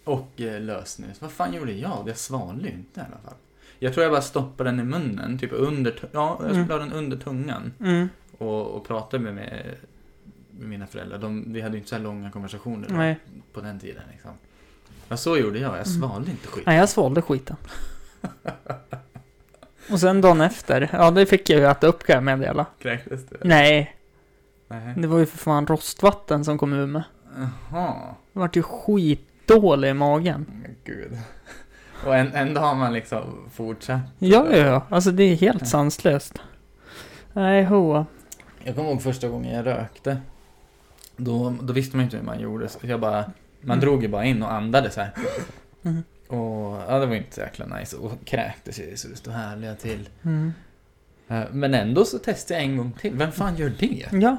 [SPEAKER 1] Och eh, lössnus. Vad fan gjorde jag? Jag svalde ju inte i alla fall. Jag tror jag bara stoppade den i munnen, typ under, tu- ja, jag
[SPEAKER 2] Mm.
[SPEAKER 1] la den under tungan.
[SPEAKER 2] Mm.
[SPEAKER 1] Och, och pratade med, med, med mina föräldrar. De, vi hade ju inte så här långa konversationer då,
[SPEAKER 2] Nej. Mm.
[SPEAKER 1] på den tiden. Liksom. Ja, så gjorde jag. Jag svalde inte skit.
[SPEAKER 2] Nej, jag svalde skiten. Och sen dagen efter, ja det fick jag ju äta upp kan jag meddela.
[SPEAKER 1] Kräktes
[SPEAKER 2] Mm.
[SPEAKER 1] du?
[SPEAKER 2] Nej,
[SPEAKER 1] Nej.
[SPEAKER 2] det var ju för fan rostvatten som kom ur mig.
[SPEAKER 1] Jaha.
[SPEAKER 2] Det vart ju skitdålig i magen.
[SPEAKER 1] Men gud. Och en, en dag har man liksom fortsatt.
[SPEAKER 2] Ja, ja, ja. Alltså det är helt sanslöst. Nej, hoa.
[SPEAKER 1] Jag kommer ihåg första gången jag rökte. Då, då visste man ju inte hur man gjorde. Så jag bara, man
[SPEAKER 2] Mm.
[SPEAKER 1] drog ju bara in och andades så här.
[SPEAKER 2] Mm.
[SPEAKER 1] Och ja, det var ju inte så jäkla nice. Och kräktes ju så det stod härliga till.
[SPEAKER 2] Mm.
[SPEAKER 1] Eh, Men ändå så testade jag en gång till. Vem fan gör det?
[SPEAKER 2] Ja.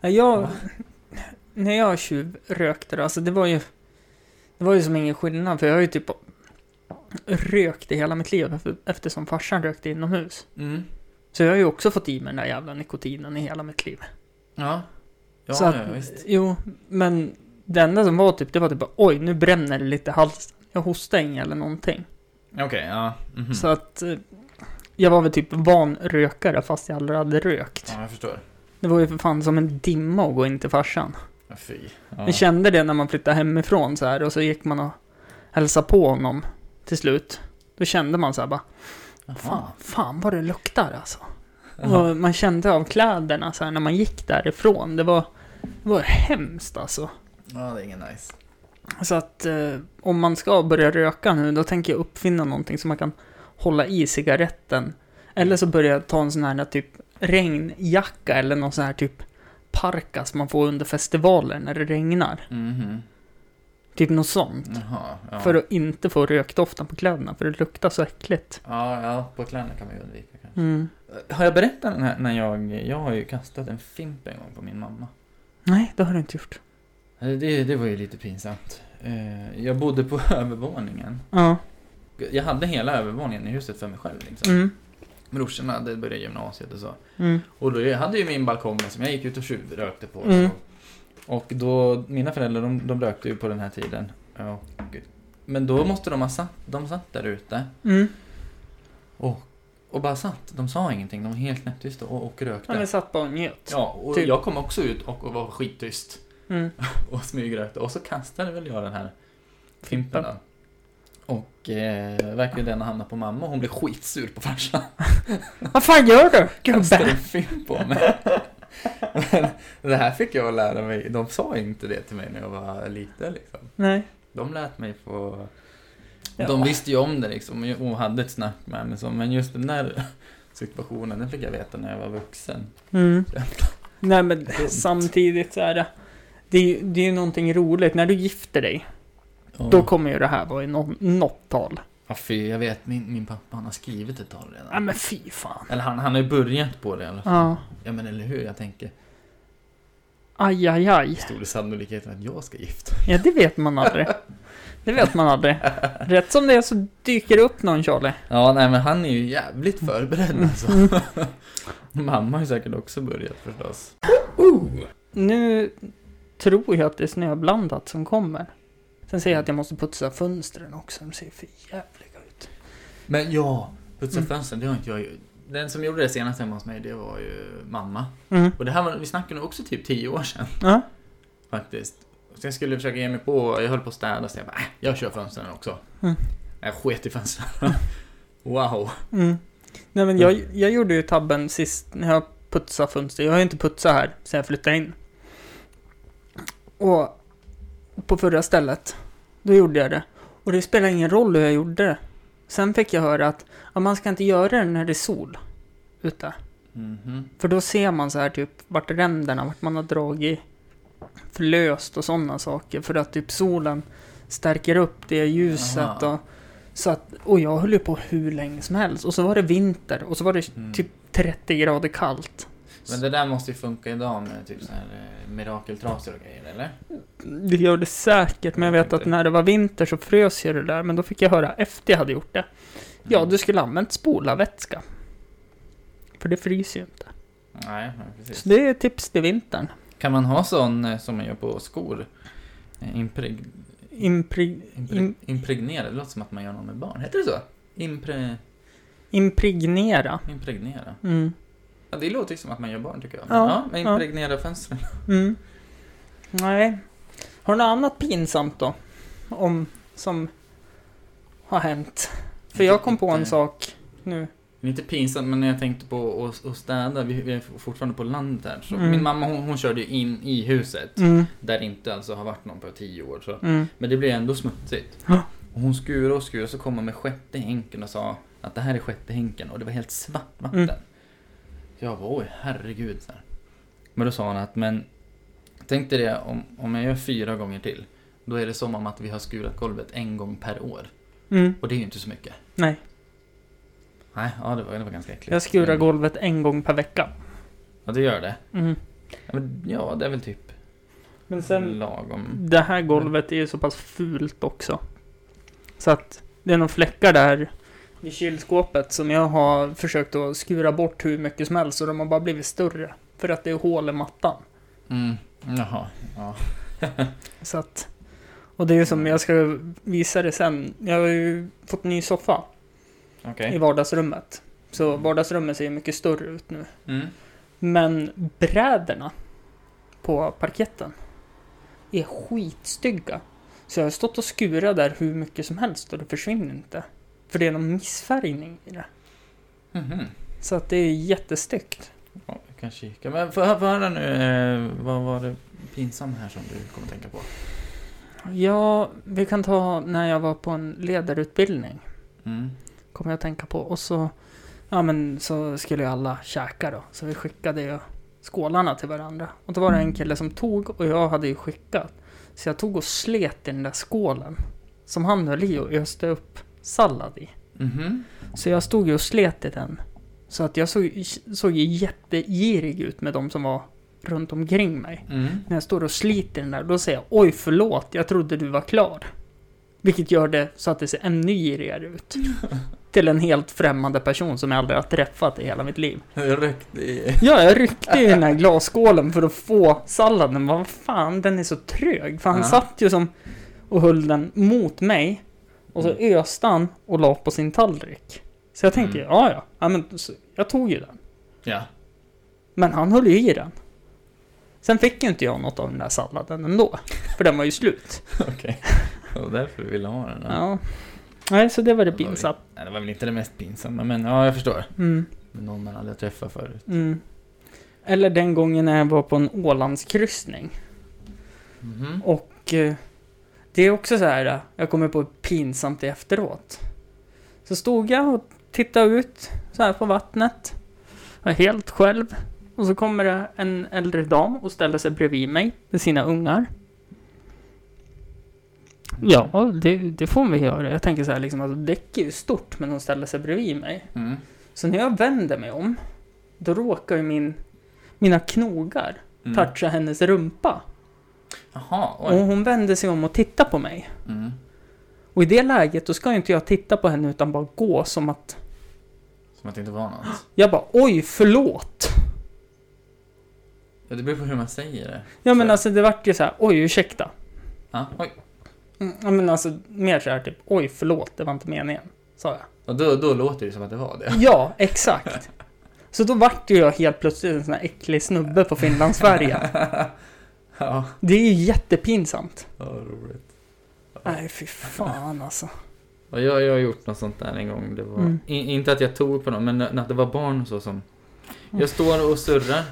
[SPEAKER 2] Ja, Jag,
[SPEAKER 1] Va?
[SPEAKER 2] när jag tjuvrökte då, alltså det var ju... Det var ju som ingen skillnad, för jag har ju typ rökt i hela mitt liv efter- eftersom farsan rökte inomhus.
[SPEAKER 1] Mm.
[SPEAKER 2] Så jag har ju också fått i mig den där jävla nikotinen i hela mitt liv.
[SPEAKER 1] Ja. Ja,
[SPEAKER 2] Så att-
[SPEAKER 1] ja, visst.
[SPEAKER 2] Jo, men det enda som var typ, det var typ bara, oj, nu bränner det lite i halsen. Jag hostade inget eller någonting.
[SPEAKER 1] Okej, ja. mhm.
[SPEAKER 2] Så att eh, jag var väl typ van rökare fast jag aldrig hade rökt.
[SPEAKER 1] Ja, jag förstår.
[SPEAKER 2] Det var ju för fan som en dimma att gå in till farsan.
[SPEAKER 1] Ja, fy.
[SPEAKER 2] Jag
[SPEAKER 1] Ja.
[SPEAKER 2] kände det när man flyttade hemifrån så här och så gick man och hälsade på honom till slut. Då kände man så här bara, fan,
[SPEAKER 1] Jaha.
[SPEAKER 2] fan vad det luktar alltså.
[SPEAKER 1] Jaha.
[SPEAKER 2] Och man kände av kläderna så här när man gick därifrån. Det var, det var hemskt alltså.
[SPEAKER 1] Ja, det är ingen nice.
[SPEAKER 2] Så att eh, om man ska börja röka nu, då tänker jag uppfinna någonting som man kan hålla i cigaretten. Eller så börjar jag ta en sån här typ regnjacka eller någon sån här typ parkas man får under festivaler när det regnar.
[SPEAKER 1] Mhm.
[SPEAKER 2] Typ något sånt.
[SPEAKER 1] Jaha, ja.
[SPEAKER 2] För att inte få rökdoften på kläderna, för det luktar så äckligt.
[SPEAKER 1] ja, ja, på kläderna kan man ju undvika kanske.
[SPEAKER 2] Mm.
[SPEAKER 1] Har jag berättat den här, när jag, jag har ju kastat en fimp en gång på min mamma. Eh,
[SPEAKER 2] Nej, det har du inte gjort.
[SPEAKER 1] Det, det var ju lite pinsamt. Eh, Jag bodde på övervåningen.
[SPEAKER 2] Ja.
[SPEAKER 1] Jag hade hela övervåningen i huset för mig själv liksom.
[SPEAKER 2] Mm.
[SPEAKER 1] Brorsorna, det började gymnasiet och så.
[SPEAKER 2] Mm.
[SPEAKER 1] Och då jag hade ju min balkong som jag gick ut och tjuvrökte på.
[SPEAKER 2] Mm.
[SPEAKER 1] så. Och då, mina föräldrar de, de rökte ju på den här tiden. Och, men då måste de ha satt, de satt där ute
[SPEAKER 2] Mm.
[SPEAKER 1] och, och bara satt. De sa ingenting, de var helt knäpptysta och, och rökte.
[SPEAKER 2] Ja, men satt bara och njöt.
[SPEAKER 1] Ja, och
[SPEAKER 2] Typ.
[SPEAKER 1] jag kom också ut och, och var skittyst
[SPEAKER 2] Mm.
[SPEAKER 1] och smygrökte. Och så kastade väl jag den här fimpen
[SPEAKER 2] Mm.
[SPEAKER 1] då. Och eh, verkar den ha hamnat på mamma och hon blev skitsur på farsan.
[SPEAKER 2] Vad fan gör du,
[SPEAKER 1] Kastade
[SPEAKER 2] gubbe?
[SPEAKER 1] en fimp på mig. Men det här fick jag lära mig. De sa inte det till mig när jag var liten liksom.
[SPEAKER 2] Nej.
[SPEAKER 1] De lät mig få...
[SPEAKER 2] Ja.
[SPEAKER 1] De visste ju om det liksom och hade ett snack med mig. så- Men just den där situationen, den fick jag veta när jag var vuxen.
[SPEAKER 2] Mm. Nej, men
[SPEAKER 1] Dumt.
[SPEAKER 2] samtidigt så är det... Det är, ju- det är ju någonting roligt. När du gifter dig,
[SPEAKER 1] Och,
[SPEAKER 2] då kommer ju det här vara i nå- något tal.
[SPEAKER 1] ja, fy, jag vet min, min pappa han har skrivit ett tal redan.
[SPEAKER 2] Nej, men fy fan.
[SPEAKER 1] Eller han, han har ju börjat på det i alla fall.
[SPEAKER 2] Ja.
[SPEAKER 1] Ja men eller hur, jag tänker.
[SPEAKER 2] Aj, aj, aj.
[SPEAKER 1] Hur stor är sannolikheten att jag ska gifta
[SPEAKER 2] Ja, det vet man aldrig. Det vet man aldrig. Rätt som det är så dyker det upp någon Charlie.
[SPEAKER 1] Ja, nej men han är ju jävligt förberedd alltså. Mamma har ju säkert också börjat förstås.
[SPEAKER 2] Nu tror jag att det är snöblandat som kommer. Sen säger jag att jag måste putsa fönstren också, de ser för jävliga ut.
[SPEAKER 1] Men ja, putsa
[SPEAKER 2] Mm.
[SPEAKER 1] fönstren, det har inte jag ju- Den som gjorde det senast hemma hos mig, det var ju mamma.
[SPEAKER 2] Mm.
[SPEAKER 1] Och det här var, vi snackade nog också typ tio år sedan
[SPEAKER 2] Ja.
[SPEAKER 1] faktiskt. Och sen skulle jag försöka ge mig på, jag höll på att städa så jag bara, äh, jag kör fönstren också.
[SPEAKER 2] Mm.
[SPEAKER 1] Jag sket i fönstren. wow.
[SPEAKER 2] Mm. Nej men jag, jag gjorde ju tabben sist när jag putsade fönster. Jag har ju inte putsat här sen jag flyttade in. Och på förra stället, då gjorde jag det. Och det spelar ingen roll hur jag gjorde det. Sen fick jag höra att ja, man ska inte göra det när det är sol ute.
[SPEAKER 1] Mhm.
[SPEAKER 2] För då ser man så här typ vart ränderna, vart man har dragit för löst och sådana saker. För att typ solen stärker upp det ljuset.
[SPEAKER 1] Jaha.
[SPEAKER 2] Och, så att, och jag höll ju på hur länge som helst. Och så var det vinter och så var det
[SPEAKER 1] Mm.
[SPEAKER 2] typ 30 grader kallt.
[SPEAKER 1] Men det där måste ju funka idag med typ så här eh, mirakeltrasor och grejer, eller?
[SPEAKER 2] Det gör det säkert, men jag vet att när det var vinter så frös jag det där. Men då fick jag höra efter jag hade gjort det.
[SPEAKER 1] Mm.
[SPEAKER 2] Ja, du skulle ha använt spolarvätska. För det fryser ju inte.
[SPEAKER 1] Nej, nej, precis.
[SPEAKER 2] Så det är tips till vintern.
[SPEAKER 1] Kan man ha sån eh, som man gör på skor? Eh, Impreg...
[SPEAKER 2] Imprig,
[SPEAKER 1] impreg
[SPEAKER 2] Im-
[SPEAKER 1] impregnerad? Det låter som att man gör något med barn. Heter det så? Impre...
[SPEAKER 2] impregnera.
[SPEAKER 1] Impregnera?
[SPEAKER 2] Mm.
[SPEAKER 1] Ja, det låter ju som att man gör barn tycker jag.
[SPEAKER 2] Ja,
[SPEAKER 1] Ja, men
[SPEAKER 2] ja.
[SPEAKER 1] impregnera fönstren.
[SPEAKER 2] Mm. Nej. Har du något annat pinsamt då? Om, som har hänt? För jag kom på en sak nu.
[SPEAKER 1] Det är inte pinsamt, men när jag tänkte på att- att städa, vi vi är fortfarande på landet här. Så
[SPEAKER 2] Mm.
[SPEAKER 1] Min mamma hon, hon körde ju in i huset,
[SPEAKER 2] Mm.
[SPEAKER 1] där inte alltså har varit någon på tio år. Så.
[SPEAKER 2] Mm.
[SPEAKER 1] Men det blev ändå smutsigt.
[SPEAKER 2] Ja.
[SPEAKER 1] Och hon skurade och skurade, så kom hon med sjätte hinken och sa att det här är sjätte hinken och det var helt svart vatten.
[SPEAKER 2] Mm.
[SPEAKER 1] Jag var oj herregud. Så här. Men då sa hon att, men tänk dig det om, om jag gör fyra gånger till. Då är det som om att vi har skurat golvet en gång per år.
[SPEAKER 2] Mm.
[SPEAKER 1] Och det är ju inte så mycket.
[SPEAKER 2] Nej,
[SPEAKER 1] Nej, ja det var, det var ganska äckligt.
[SPEAKER 2] jag skurar
[SPEAKER 1] Men-
[SPEAKER 2] golvet en gång per vecka.
[SPEAKER 1] Ja, det gör det.
[SPEAKER 2] Mm.
[SPEAKER 1] Ja, men, ja det är väl typ
[SPEAKER 2] Men sen,
[SPEAKER 1] lagom.
[SPEAKER 2] det här golvet är ju så pass fult också. Så att det är några fläckar där vid kylskåpet som jag har försökt att skura bort hur mycket som helst och de har bara blivit större. För att det är hål i mattan.
[SPEAKER 1] Mm. Jaha. Ja.
[SPEAKER 2] Så att, och det är ju som jag ska visa det sen. Jag har ju fått ny soffa
[SPEAKER 1] Okej.
[SPEAKER 2] i vardagsrummet. Så vardagsrummet ser ju mycket större ut nu.
[SPEAKER 1] Mm.
[SPEAKER 2] Men bräderna på parketten är skitstygga. Så jag har stått och skurat där hur mycket som helst och det försvinner inte. För det är någon missfärgning i det.
[SPEAKER 1] Mhm.
[SPEAKER 2] Så att det är jättestyggt.
[SPEAKER 1] Ja, jag kan kika. Men få hö- få höra nu, eh, vad var det pinsamt här som du kommer tänka på?
[SPEAKER 2] Ja, vi kan ta när jag var på en ledarutbildning.
[SPEAKER 1] Mm.
[SPEAKER 2] kommer jag att tänka på. Och så, ja men så skulle ju alla käka då. Så vi skickade ju skålarna till varandra. Och då var det en kille som tog och jag hade ju skickat. Så jag tog och slet i den där skålen som han höll i och öste upp sallad i.
[SPEAKER 1] Mhm.
[SPEAKER 2] Så jag stod ju och slet i den. Så att jag såg, såg ju jättegirig ut med de som var runt omkring mig.
[SPEAKER 1] Mm.
[SPEAKER 2] När jag står och sliter den där, då säger jag oj förlåt, jag trodde du var klar. Vilket gör det så att det ser ännu girigare ut. Till en helt främmande person som jag aldrig har träffat i hela mitt liv.
[SPEAKER 1] Jag ryckte i...
[SPEAKER 2] Ja, jag ryckte i den här glasskålen för att få salladen. Vad fan, den är så trög. För han
[SPEAKER 1] Ja.
[SPEAKER 2] satt ju som och höll den mot mig. Och så öste han och la på sin tallrik. Så jag tänkte,
[SPEAKER 1] Mm.
[SPEAKER 2] ja ja, ja men, så, jag tog ju den.
[SPEAKER 1] Ja.
[SPEAKER 2] Men han höll ju i den. Sen fick ju inte jag något av den där salladen ändå. För den var ju slut.
[SPEAKER 1] Okej. Det var därför du ville ha den. ja.
[SPEAKER 2] Ja. Nej, så det var det
[SPEAKER 1] Det var
[SPEAKER 2] pinsamt.
[SPEAKER 1] Nej, det var väl inte det mest pinsamma, men ja, jag förstår.
[SPEAKER 2] Mm,
[SPEAKER 1] Men någon man aldrig har träffat förut.
[SPEAKER 2] mm. Eller den gången när jag var på en Ålandskryssning.
[SPEAKER 1] Mhm.
[SPEAKER 2] Och eh, det är också så här, eh, jag kommer på pinsamt efteråt. Så stod jag och tittade ut så här på vattnet. Jag är helt själv. Och så kommer det en äldre dam och ställer sig bredvid mig med sina ungar. Ja, det, det får vi göra. Jag tänker så här liksom, alltså däck är ju stort men hon ställer sig bredvid mig.
[SPEAKER 1] Mm.
[SPEAKER 2] Så när jag vänder mig om, då råkar ju min, mina knogar
[SPEAKER 1] Mm.
[SPEAKER 2] toucha hennes rumpa.
[SPEAKER 1] Jaha,
[SPEAKER 2] Och
[SPEAKER 1] oj.
[SPEAKER 2] hon vände sig om och tittade på mig.
[SPEAKER 1] Mm.
[SPEAKER 2] Och i det läget, då ska ju inte jag titta på henne utan bara gå som att...
[SPEAKER 1] Som att det inte var något.
[SPEAKER 2] Jag bara oj, förlåt!
[SPEAKER 1] Ja, det beror på hur man säger det.
[SPEAKER 2] Ja men
[SPEAKER 1] Så-
[SPEAKER 2] alltså det vart ju så här, oj ursäkta.
[SPEAKER 1] Ja, oj.
[SPEAKER 2] Mm, Ja men alltså mer så här typ, oj förlåt, det var inte meningen. Sa jag.
[SPEAKER 1] Och då, då låter det som att det var det.
[SPEAKER 2] Ja, exakt. Så då vart ju jag helt plötsligt en sån här äcklig snubbe på Finland-Sverige.
[SPEAKER 1] ja.
[SPEAKER 2] Det är ju jättepinsamt.
[SPEAKER 1] Ja, vad roligt.
[SPEAKER 2] Nej, fy fan alltså.
[SPEAKER 1] Och jag, jag har gjort något sånt där en gång. Det var,
[SPEAKER 2] Mm.
[SPEAKER 1] in, inte att jag tog på dem, men när det var barn och så som...
[SPEAKER 2] Mm.
[SPEAKER 1] Jag står och surrar.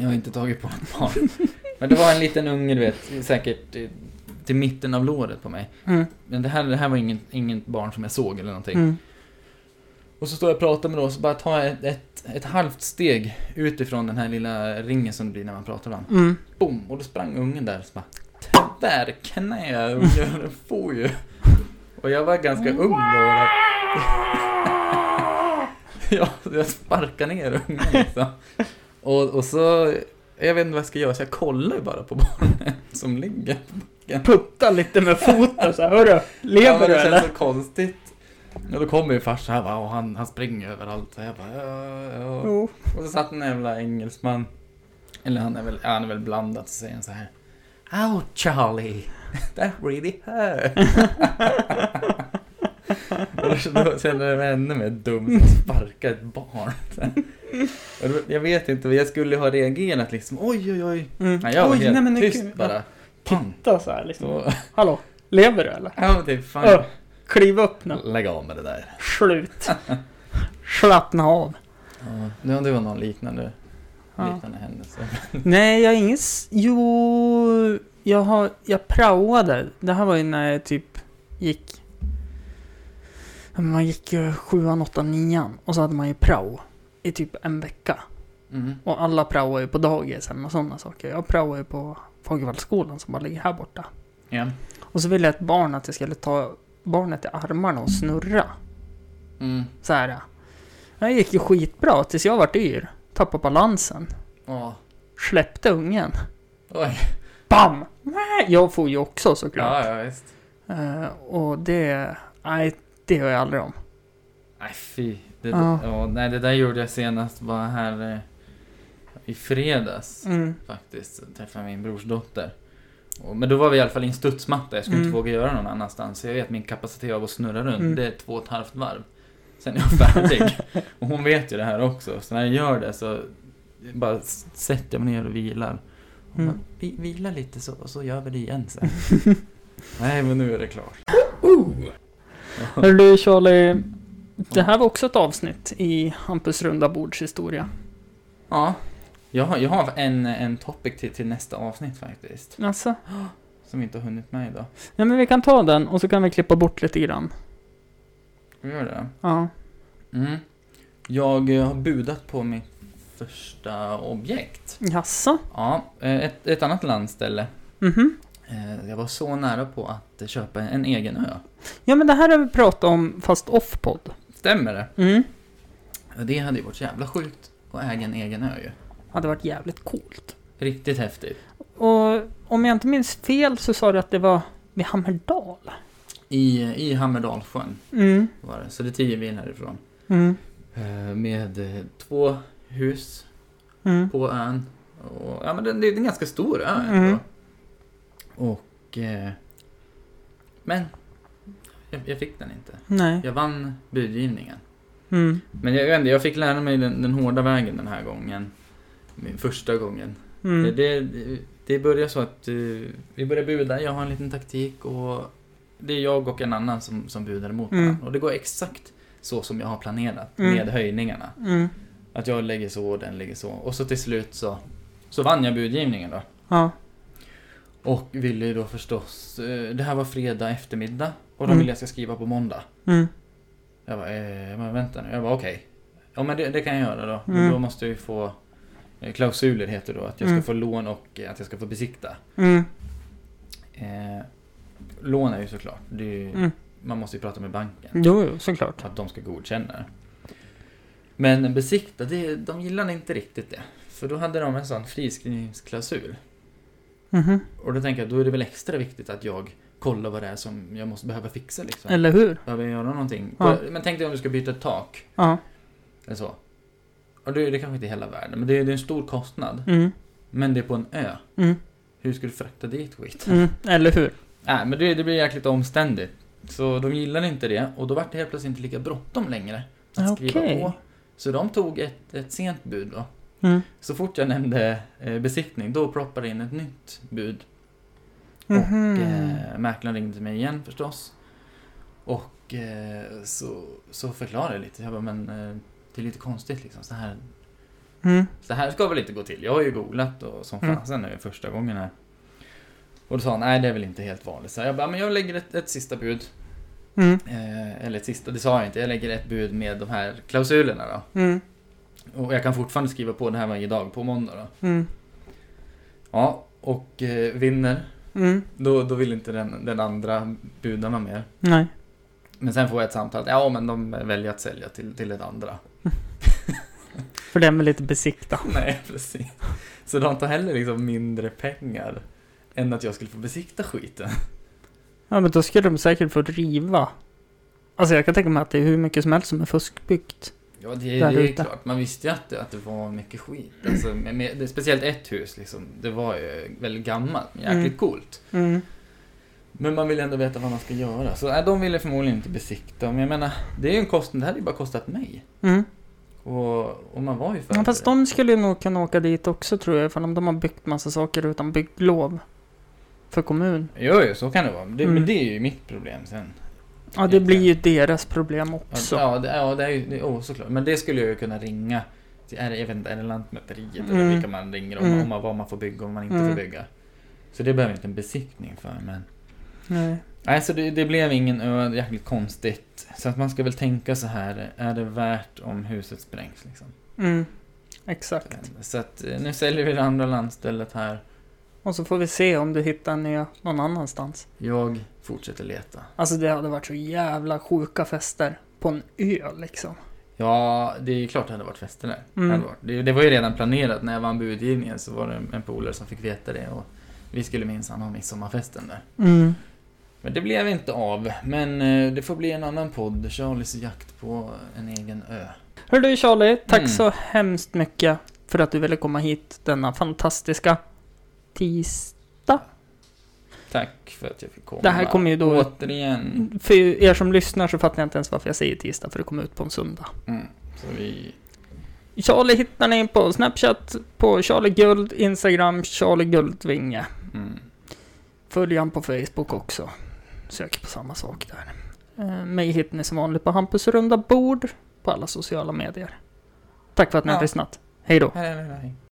[SPEAKER 1] Jag har inte tagit på något barn. Men det var en liten unge, du vet, säkert eh, till mitten av låret på mig.
[SPEAKER 2] Mm,
[SPEAKER 1] Men det här, det här var inget, inget barn som jag såg eller någonting.
[SPEAKER 2] mm,
[SPEAKER 1] Och så står jag och pratar med dem och så bara tar jag ett, ett, ett halvt steg utifrån den här lilla ringen som det blir när man pratar med dem.
[SPEAKER 2] mm.
[SPEAKER 1] Boom! Och då sprang ungen där så bara Tvärknä ungen, den får ju! Och jag var ganska ung då. och jag- ja, så jag sparkade ner ungen liksom. Och, och så, jag vet inte vad jag ska göra så jag kollar ju bara på barnet som ligger.
[SPEAKER 2] Putta lite med foten så här, hörru.
[SPEAKER 1] Ja,
[SPEAKER 2] Lever
[SPEAKER 1] men
[SPEAKER 2] du
[SPEAKER 1] det känns
[SPEAKER 2] eller?
[SPEAKER 1] så konstigt. Och då kommer ju farsan här va, och han, han springer överallt. Så jag bara, ja, ja.
[SPEAKER 2] Jo.
[SPEAKER 1] Och så satt en jävla engelsman. Eller han är väl, ja, han är väl blandat, så säger han så här. Oh Charlie, that really hurt. Och då kände- då kände jag mig ännu mer dum som sparkar ett barn. Så här. Och då- Jag vet inte, jag skulle ha reagerat liksom oj oj oj.
[SPEAKER 2] Mm.
[SPEAKER 1] Nej, jag var
[SPEAKER 2] Oj,
[SPEAKER 1] helt
[SPEAKER 2] nej, men det-
[SPEAKER 1] tyst bara. Pang.
[SPEAKER 2] Titta så här liksom.
[SPEAKER 1] Så,
[SPEAKER 2] Hallå, lever du eller?
[SPEAKER 1] ja men typ fan.
[SPEAKER 2] Ö, kliv upp nu.
[SPEAKER 1] Lägg av med det där.
[SPEAKER 2] Slut. Slappna av.
[SPEAKER 1] Ja, ja, det var någon liknande,
[SPEAKER 2] Ja.
[SPEAKER 1] liknande händelse.
[SPEAKER 2] Nej, jag har ingen... s- Jo, jag har... Jag praoade. Det här var ju när jag typ gick... Ja, men Man gick ju sjuan, åttan, nian och så hade man ju prao i typ en vecka.
[SPEAKER 1] Mm.
[SPEAKER 2] Och alla praoar ju på dagisen och sådana saker. Jag praoar ju på Fagervallsskolan som bara ligger här borta.
[SPEAKER 1] Ja.
[SPEAKER 2] Och så ville jag ett barn att jag skulle ta barnet i armarna och snurra.
[SPEAKER 1] Mm.
[SPEAKER 2] Så här. Det gick ju skitbra tills jag vart yr. Tappade balansen.
[SPEAKER 1] Ja.
[SPEAKER 2] Släppte ungen.
[SPEAKER 1] Oj.
[SPEAKER 2] BAM! Nej, Jag får ju också såklart.
[SPEAKER 1] Ja, ja visst.
[SPEAKER 2] Eh, och det... Nej, det hör jag aldrig om.
[SPEAKER 1] Nej fy. Det,
[SPEAKER 2] Ja.
[SPEAKER 1] ja, nej, det där gjorde jag senast bara här eh, i fredags
[SPEAKER 2] Mm.
[SPEAKER 1] faktiskt. Så Träffade jag min brors dotter. Och, men då var vi i alla fall i en studsmatta. Jag skulle
[SPEAKER 2] Mm.
[SPEAKER 1] inte våga göra någon annanstans. Så jag vet min kapacitet av att snurra runt,
[SPEAKER 2] Mm.
[SPEAKER 1] det är två och ett halvt varv. Sen är jag färdig. och hon vet ju det här också. Så när jag gör det så bara s- sätter jag mig ner och vilar. Hon
[SPEAKER 2] Mm.
[SPEAKER 1] bara, vi, vila lite så, så gör vi det igen sen. nej men nu är det klart.
[SPEAKER 2] Hör du Charlie. Det här var också ett avsnitt i Hampus runda bords historia.
[SPEAKER 1] Ja. Jag har, jag har en, en topic till, till nästa avsnitt faktiskt.
[SPEAKER 2] Alltså,
[SPEAKER 1] Som vi inte har hunnit med idag.
[SPEAKER 2] nej men vi kan ta den och så kan vi klippa bort lite grann.
[SPEAKER 1] Vi gör det.
[SPEAKER 2] Ja.
[SPEAKER 1] Mm. Jag eh, har budat på mitt första objekt.
[SPEAKER 2] Jaså?
[SPEAKER 1] Ja, eh, ett, ett annat landställe.
[SPEAKER 2] Mhm.
[SPEAKER 1] Eh, Jag var så nära på att köpa en egen ö.
[SPEAKER 2] Ja men det här har vi pratat om fast off-podd.
[SPEAKER 1] Stämmer det?
[SPEAKER 2] Mm.
[SPEAKER 1] Ja, Det hade ju varit jävla sjukt att äga en egen ö ju.
[SPEAKER 2] Hade varit jävligt coolt.
[SPEAKER 1] Riktigt häftigt.
[SPEAKER 2] Och om jag inte minns fel så sa du att det var vid Hammerdal.
[SPEAKER 1] I, i Hammerdalsjön
[SPEAKER 2] Mm.
[SPEAKER 1] var det, så det är tio mil härifrån.
[SPEAKER 2] Mm.
[SPEAKER 1] Eh, Med eh, två hus
[SPEAKER 2] Mm.
[SPEAKER 1] på ön. Och, ja men den, det är en ganska stor ö ändå.
[SPEAKER 2] Mm.
[SPEAKER 1] Och... eh, Men... Jag, jag fick den inte.
[SPEAKER 2] Nej.
[SPEAKER 1] Jag vann budgivningen.
[SPEAKER 2] Mm.
[SPEAKER 1] Men jag, jag vet inte, jag fick lära mig den, den hårda vägen den här gången. Min första gången.
[SPEAKER 2] Mm.
[SPEAKER 1] Det, det, det börjar så att eh, vi börjar buda, jag har en liten taktik och det är jag och en annan som, som budar mot
[SPEAKER 2] Mm.
[SPEAKER 1] varandra. Och det går exakt så som jag har planerat
[SPEAKER 2] Mm.
[SPEAKER 1] med höjningarna.
[SPEAKER 2] Mm.
[SPEAKER 1] Att jag lägger så och den lägger så. Och så till slut så, så vann jag budgivningen då.
[SPEAKER 2] Ja.
[SPEAKER 1] Och ville ju då förstås, eh, det här var fredag eftermiddag och de
[SPEAKER 2] Mm.
[SPEAKER 1] vill jag ska skriva på måndag.
[SPEAKER 2] Mm.
[SPEAKER 1] Jag bara, eh, men vänta nu. Jag bara, okej. Ja men det, det kan jag göra då. Men
[SPEAKER 2] Mm.
[SPEAKER 1] Då måste jag ju få eh, klausuler heter det då. Att jag ska
[SPEAKER 2] Mm.
[SPEAKER 1] få lån och eh, att jag ska få besikta.
[SPEAKER 2] Mm.
[SPEAKER 1] Eh, lån är ju såklart, det är ju,
[SPEAKER 2] Mm.
[SPEAKER 1] man måste ju prata med banken.
[SPEAKER 2] Jo, jo, såklart.
[SPEAKER 1] Att de ska godkänna det. Men besikta, det, de gillade inte riktigt det. För då hade de en sån friskrivningsklausul.
[SPEAKER 2] Mhm.
[SPEAKER 1] Och då tänker jag, då är det väl extra viktigt att jag kollar vad det är som jag måste behöva fixa liksom.
[SPEAKER 2] Eller hur?
[SPEAKER 1] Behöver jag göra någonting?
[SPEAKER 2] Ja.
[SPEAKER 1] Men tänk dig om du ska byta ett tak.
[SPEAKER 2] Ja.
[SPEAKER 1] Eller så. Och det, det kanske inte är hela världen, men det är, det är en stor kostnad.
[SPEAKER 2] Mm.
[SPEAKER 1] Men det är på en ö.
[SPEAKER 2] Mm.
[SPEAKER 1] Hur ska du frakta dit skiten?
[SPEAKER 2] Mm. Eller hur?
[SPEAKER 1] Nej, men det, det blir jäkligt omständigt. Så de gillade inte det och då var det helt plötsligt inte lika bråttom längre att skriva
[SPEAKER 2] Okej.
[SPEAKER 1] på. Så de tog ett, ett sent bud då.
[SPEAKER 2] Mm.
[SPEAKER 1] Så fort jag nämnde eh, besiktning, då ploppade det in ett nytt bud. Och
[SPEAKER 2] Mhm.
[SPEAKER 1] eh, mäklaren ringde till mig igen förstås. Och eh, så, så förklarade jag lite. Jag bara, men eh, det är lite konstigt liksom. Så här,
[SPEAKER 2] Mm.
[SPEAKER 1] Så här ska väl inte gå till. Jag har ju googlat och som
[SPEAKER 2] Mm.
[SPEAKER 1] fasen nu första gången här. Och då sa han, nej det är väl inte helt vanligt. Så jag bara, men jag lägger ett, ett sista bud.
[SPEAKER 2] Mm.
[SPEAKER 1] Eh, eller ett sista, det sa jag inte. Jag lägger ett bud med de här klausulerna då.
[SPEAKER 2] Mm.
[SPEAKER 1] Och jag kan fortfarande skriva på det här varje dag, på måndag då.
[SPEAKER 2] Mm.
[SPEAKER 1] Ja, och eh, vinner.
[SPEAKER 2] Mm.
[SPEAKER 1] Då, då vill inte den, den andra budarna mer.
[SPEAKER 2] Nej.
[SPEAKER 1] Men sen får jag ett samtal, ja men de väljer att sälja till, till ett andra.
[SPEAKER 2] För den vill lite besikta.
[SPEAKER 1] Nej, precis. Så de tar heller liksom mindre pengar än att jag skulle få besikta skiten.
[SPEAKER 2] Ja, men då skulle de säkert få riva. Alltså jag kan tänka mig att det är hur mycket som helst som är fuskbyggt.
[SPEAKER 1] Ja, det, det
[SPEAKER 2] där
[SPEAKER 1] är ju
[SPEAKER 2] ute.
[SPEAKER 1] klart. Man visste ju att det, att det var mycket skit. Alltså, med, med, det, speciellt ett hus, liksom, det var ju väldigt gammalt, men jäkligt
[SPEAKER 2] Mm.
[SPEAKER 1] coolt.
[SPEAKER 2] Mm.
[SPEAKER 1] Men man vill ändå veta vad man ska göra. Så nej, de ville förmodligen inte besikta. Men jag menar, det är ju en kostnad. Det hade ju bara kostat mig.
[SPEAKER 2] Mm.
[SPEAKER 1] Och, och man var ju
[SPEAKER 2] Ja,
[SPEAKER 1] förberedd.
[SPEAKER 2] fast de skulle ju nog kunna åka dit också tror jag, ifall om de har byggt massa saker utan bygglov. För kommun.
[SPEAKER 1] Jo, jo, så kan det vara. Det,
[SPEAKER 2] Mm.
[SPEAKER 1] Men det är ju mitt problem sen.
[SPEAKER 2] Ja, det
[SPEAKER 1] Egentligen.
[SPEAKER 2] blir ju deras problem
[SPEAKER 1] Ja,
[SPEAKER 2] också.
[SPEAKER 1] Ja, det, ja, det är ju det, oh, såklart. Men det skulle jag ju kunna ringa. till- Är det, jag vet inte, är det Lantmäteriet eller
[SPEAKER 2] Mm.
[SPEAKER 1] vilka man ringer om,
[SPEAKER 2] Mm.
[SPEAKER 1] om man, vad man får bygga och vad man inte
[SPEAKER 2] Mm.
[SPEAKER 1] får bygga. Så det behöver jag inte en besiktning för. Men...
[SPEAKER 2] Nej.
[SPEAKER 1] Nej, så det, det blev ingen ö, jäkligt konstigt. Så att man ska väl tänka så här, är det värt om huset sprängs? Liksom?
[SPEAKER 2] Mm. Exakt.
[SPEAKER 1] Så att eh, nu säljer vi det andra landstället här.
[SPEAKER 2] Och så får vi se om du hittar nya någon annanstans.
[SPEAKER 1] Jag fortsätter leta.
[SPEAKER 2] Alltså det hade varit så jävla sjuka fester. På en ö liksom.
[SPEAKER 1] Ja, det är klart det hade varit fester där.
[SPEAKER 2] Mm.
[SPEAKER 1] Det, hade varit. Det, det var ju redan planerat. När jag vann budgivningen så var det en- en polare som fick veta det. Och vi skulle minsann ha midsommarfesten där.
[SPEAKER 2] Mm.
[SPEAKER 1] Men det blev inte av. Men eh, det får bli en annan podd. Charlies jakt på en egen ö.
[SPEAKER 2] Hör du Charlie, tack
[SPEAKER 1] Mm.
[SPEAKER 2] så hemskt mycket för att du ville komma hit denna fantastiska tis...
[SPEAKER 1] Tack för att jag fick komma.
[SPEAKER 2] Det här kommer ju då...
[SPEAKER 1] Återigen.
[SPEAKER 2] För er som lyssnar så fattar jag inte ens varför jag säger tisdag, för det kommer ut på en söndag.
[SPEAKER 1] Mm. Så vi...
[SPEAKER 2] Charlie hittar ni på Snapchat, på Charlie Guld, Instagram, Charlie Guldvinge.
[SPEAKER 1] Mm.
[SPEAKER 2] Följ han på Facebook också. Sök på samma sak där. Eh, Mig hittar ni som vanligt på Hampus runda bord på alla sociala medier. Tack för att ni har
[SPEAKER 1] Ja.
[SPEAKER 2] lyssnat. Hej då!
[SPEAKER 1] Hej, hej, hej.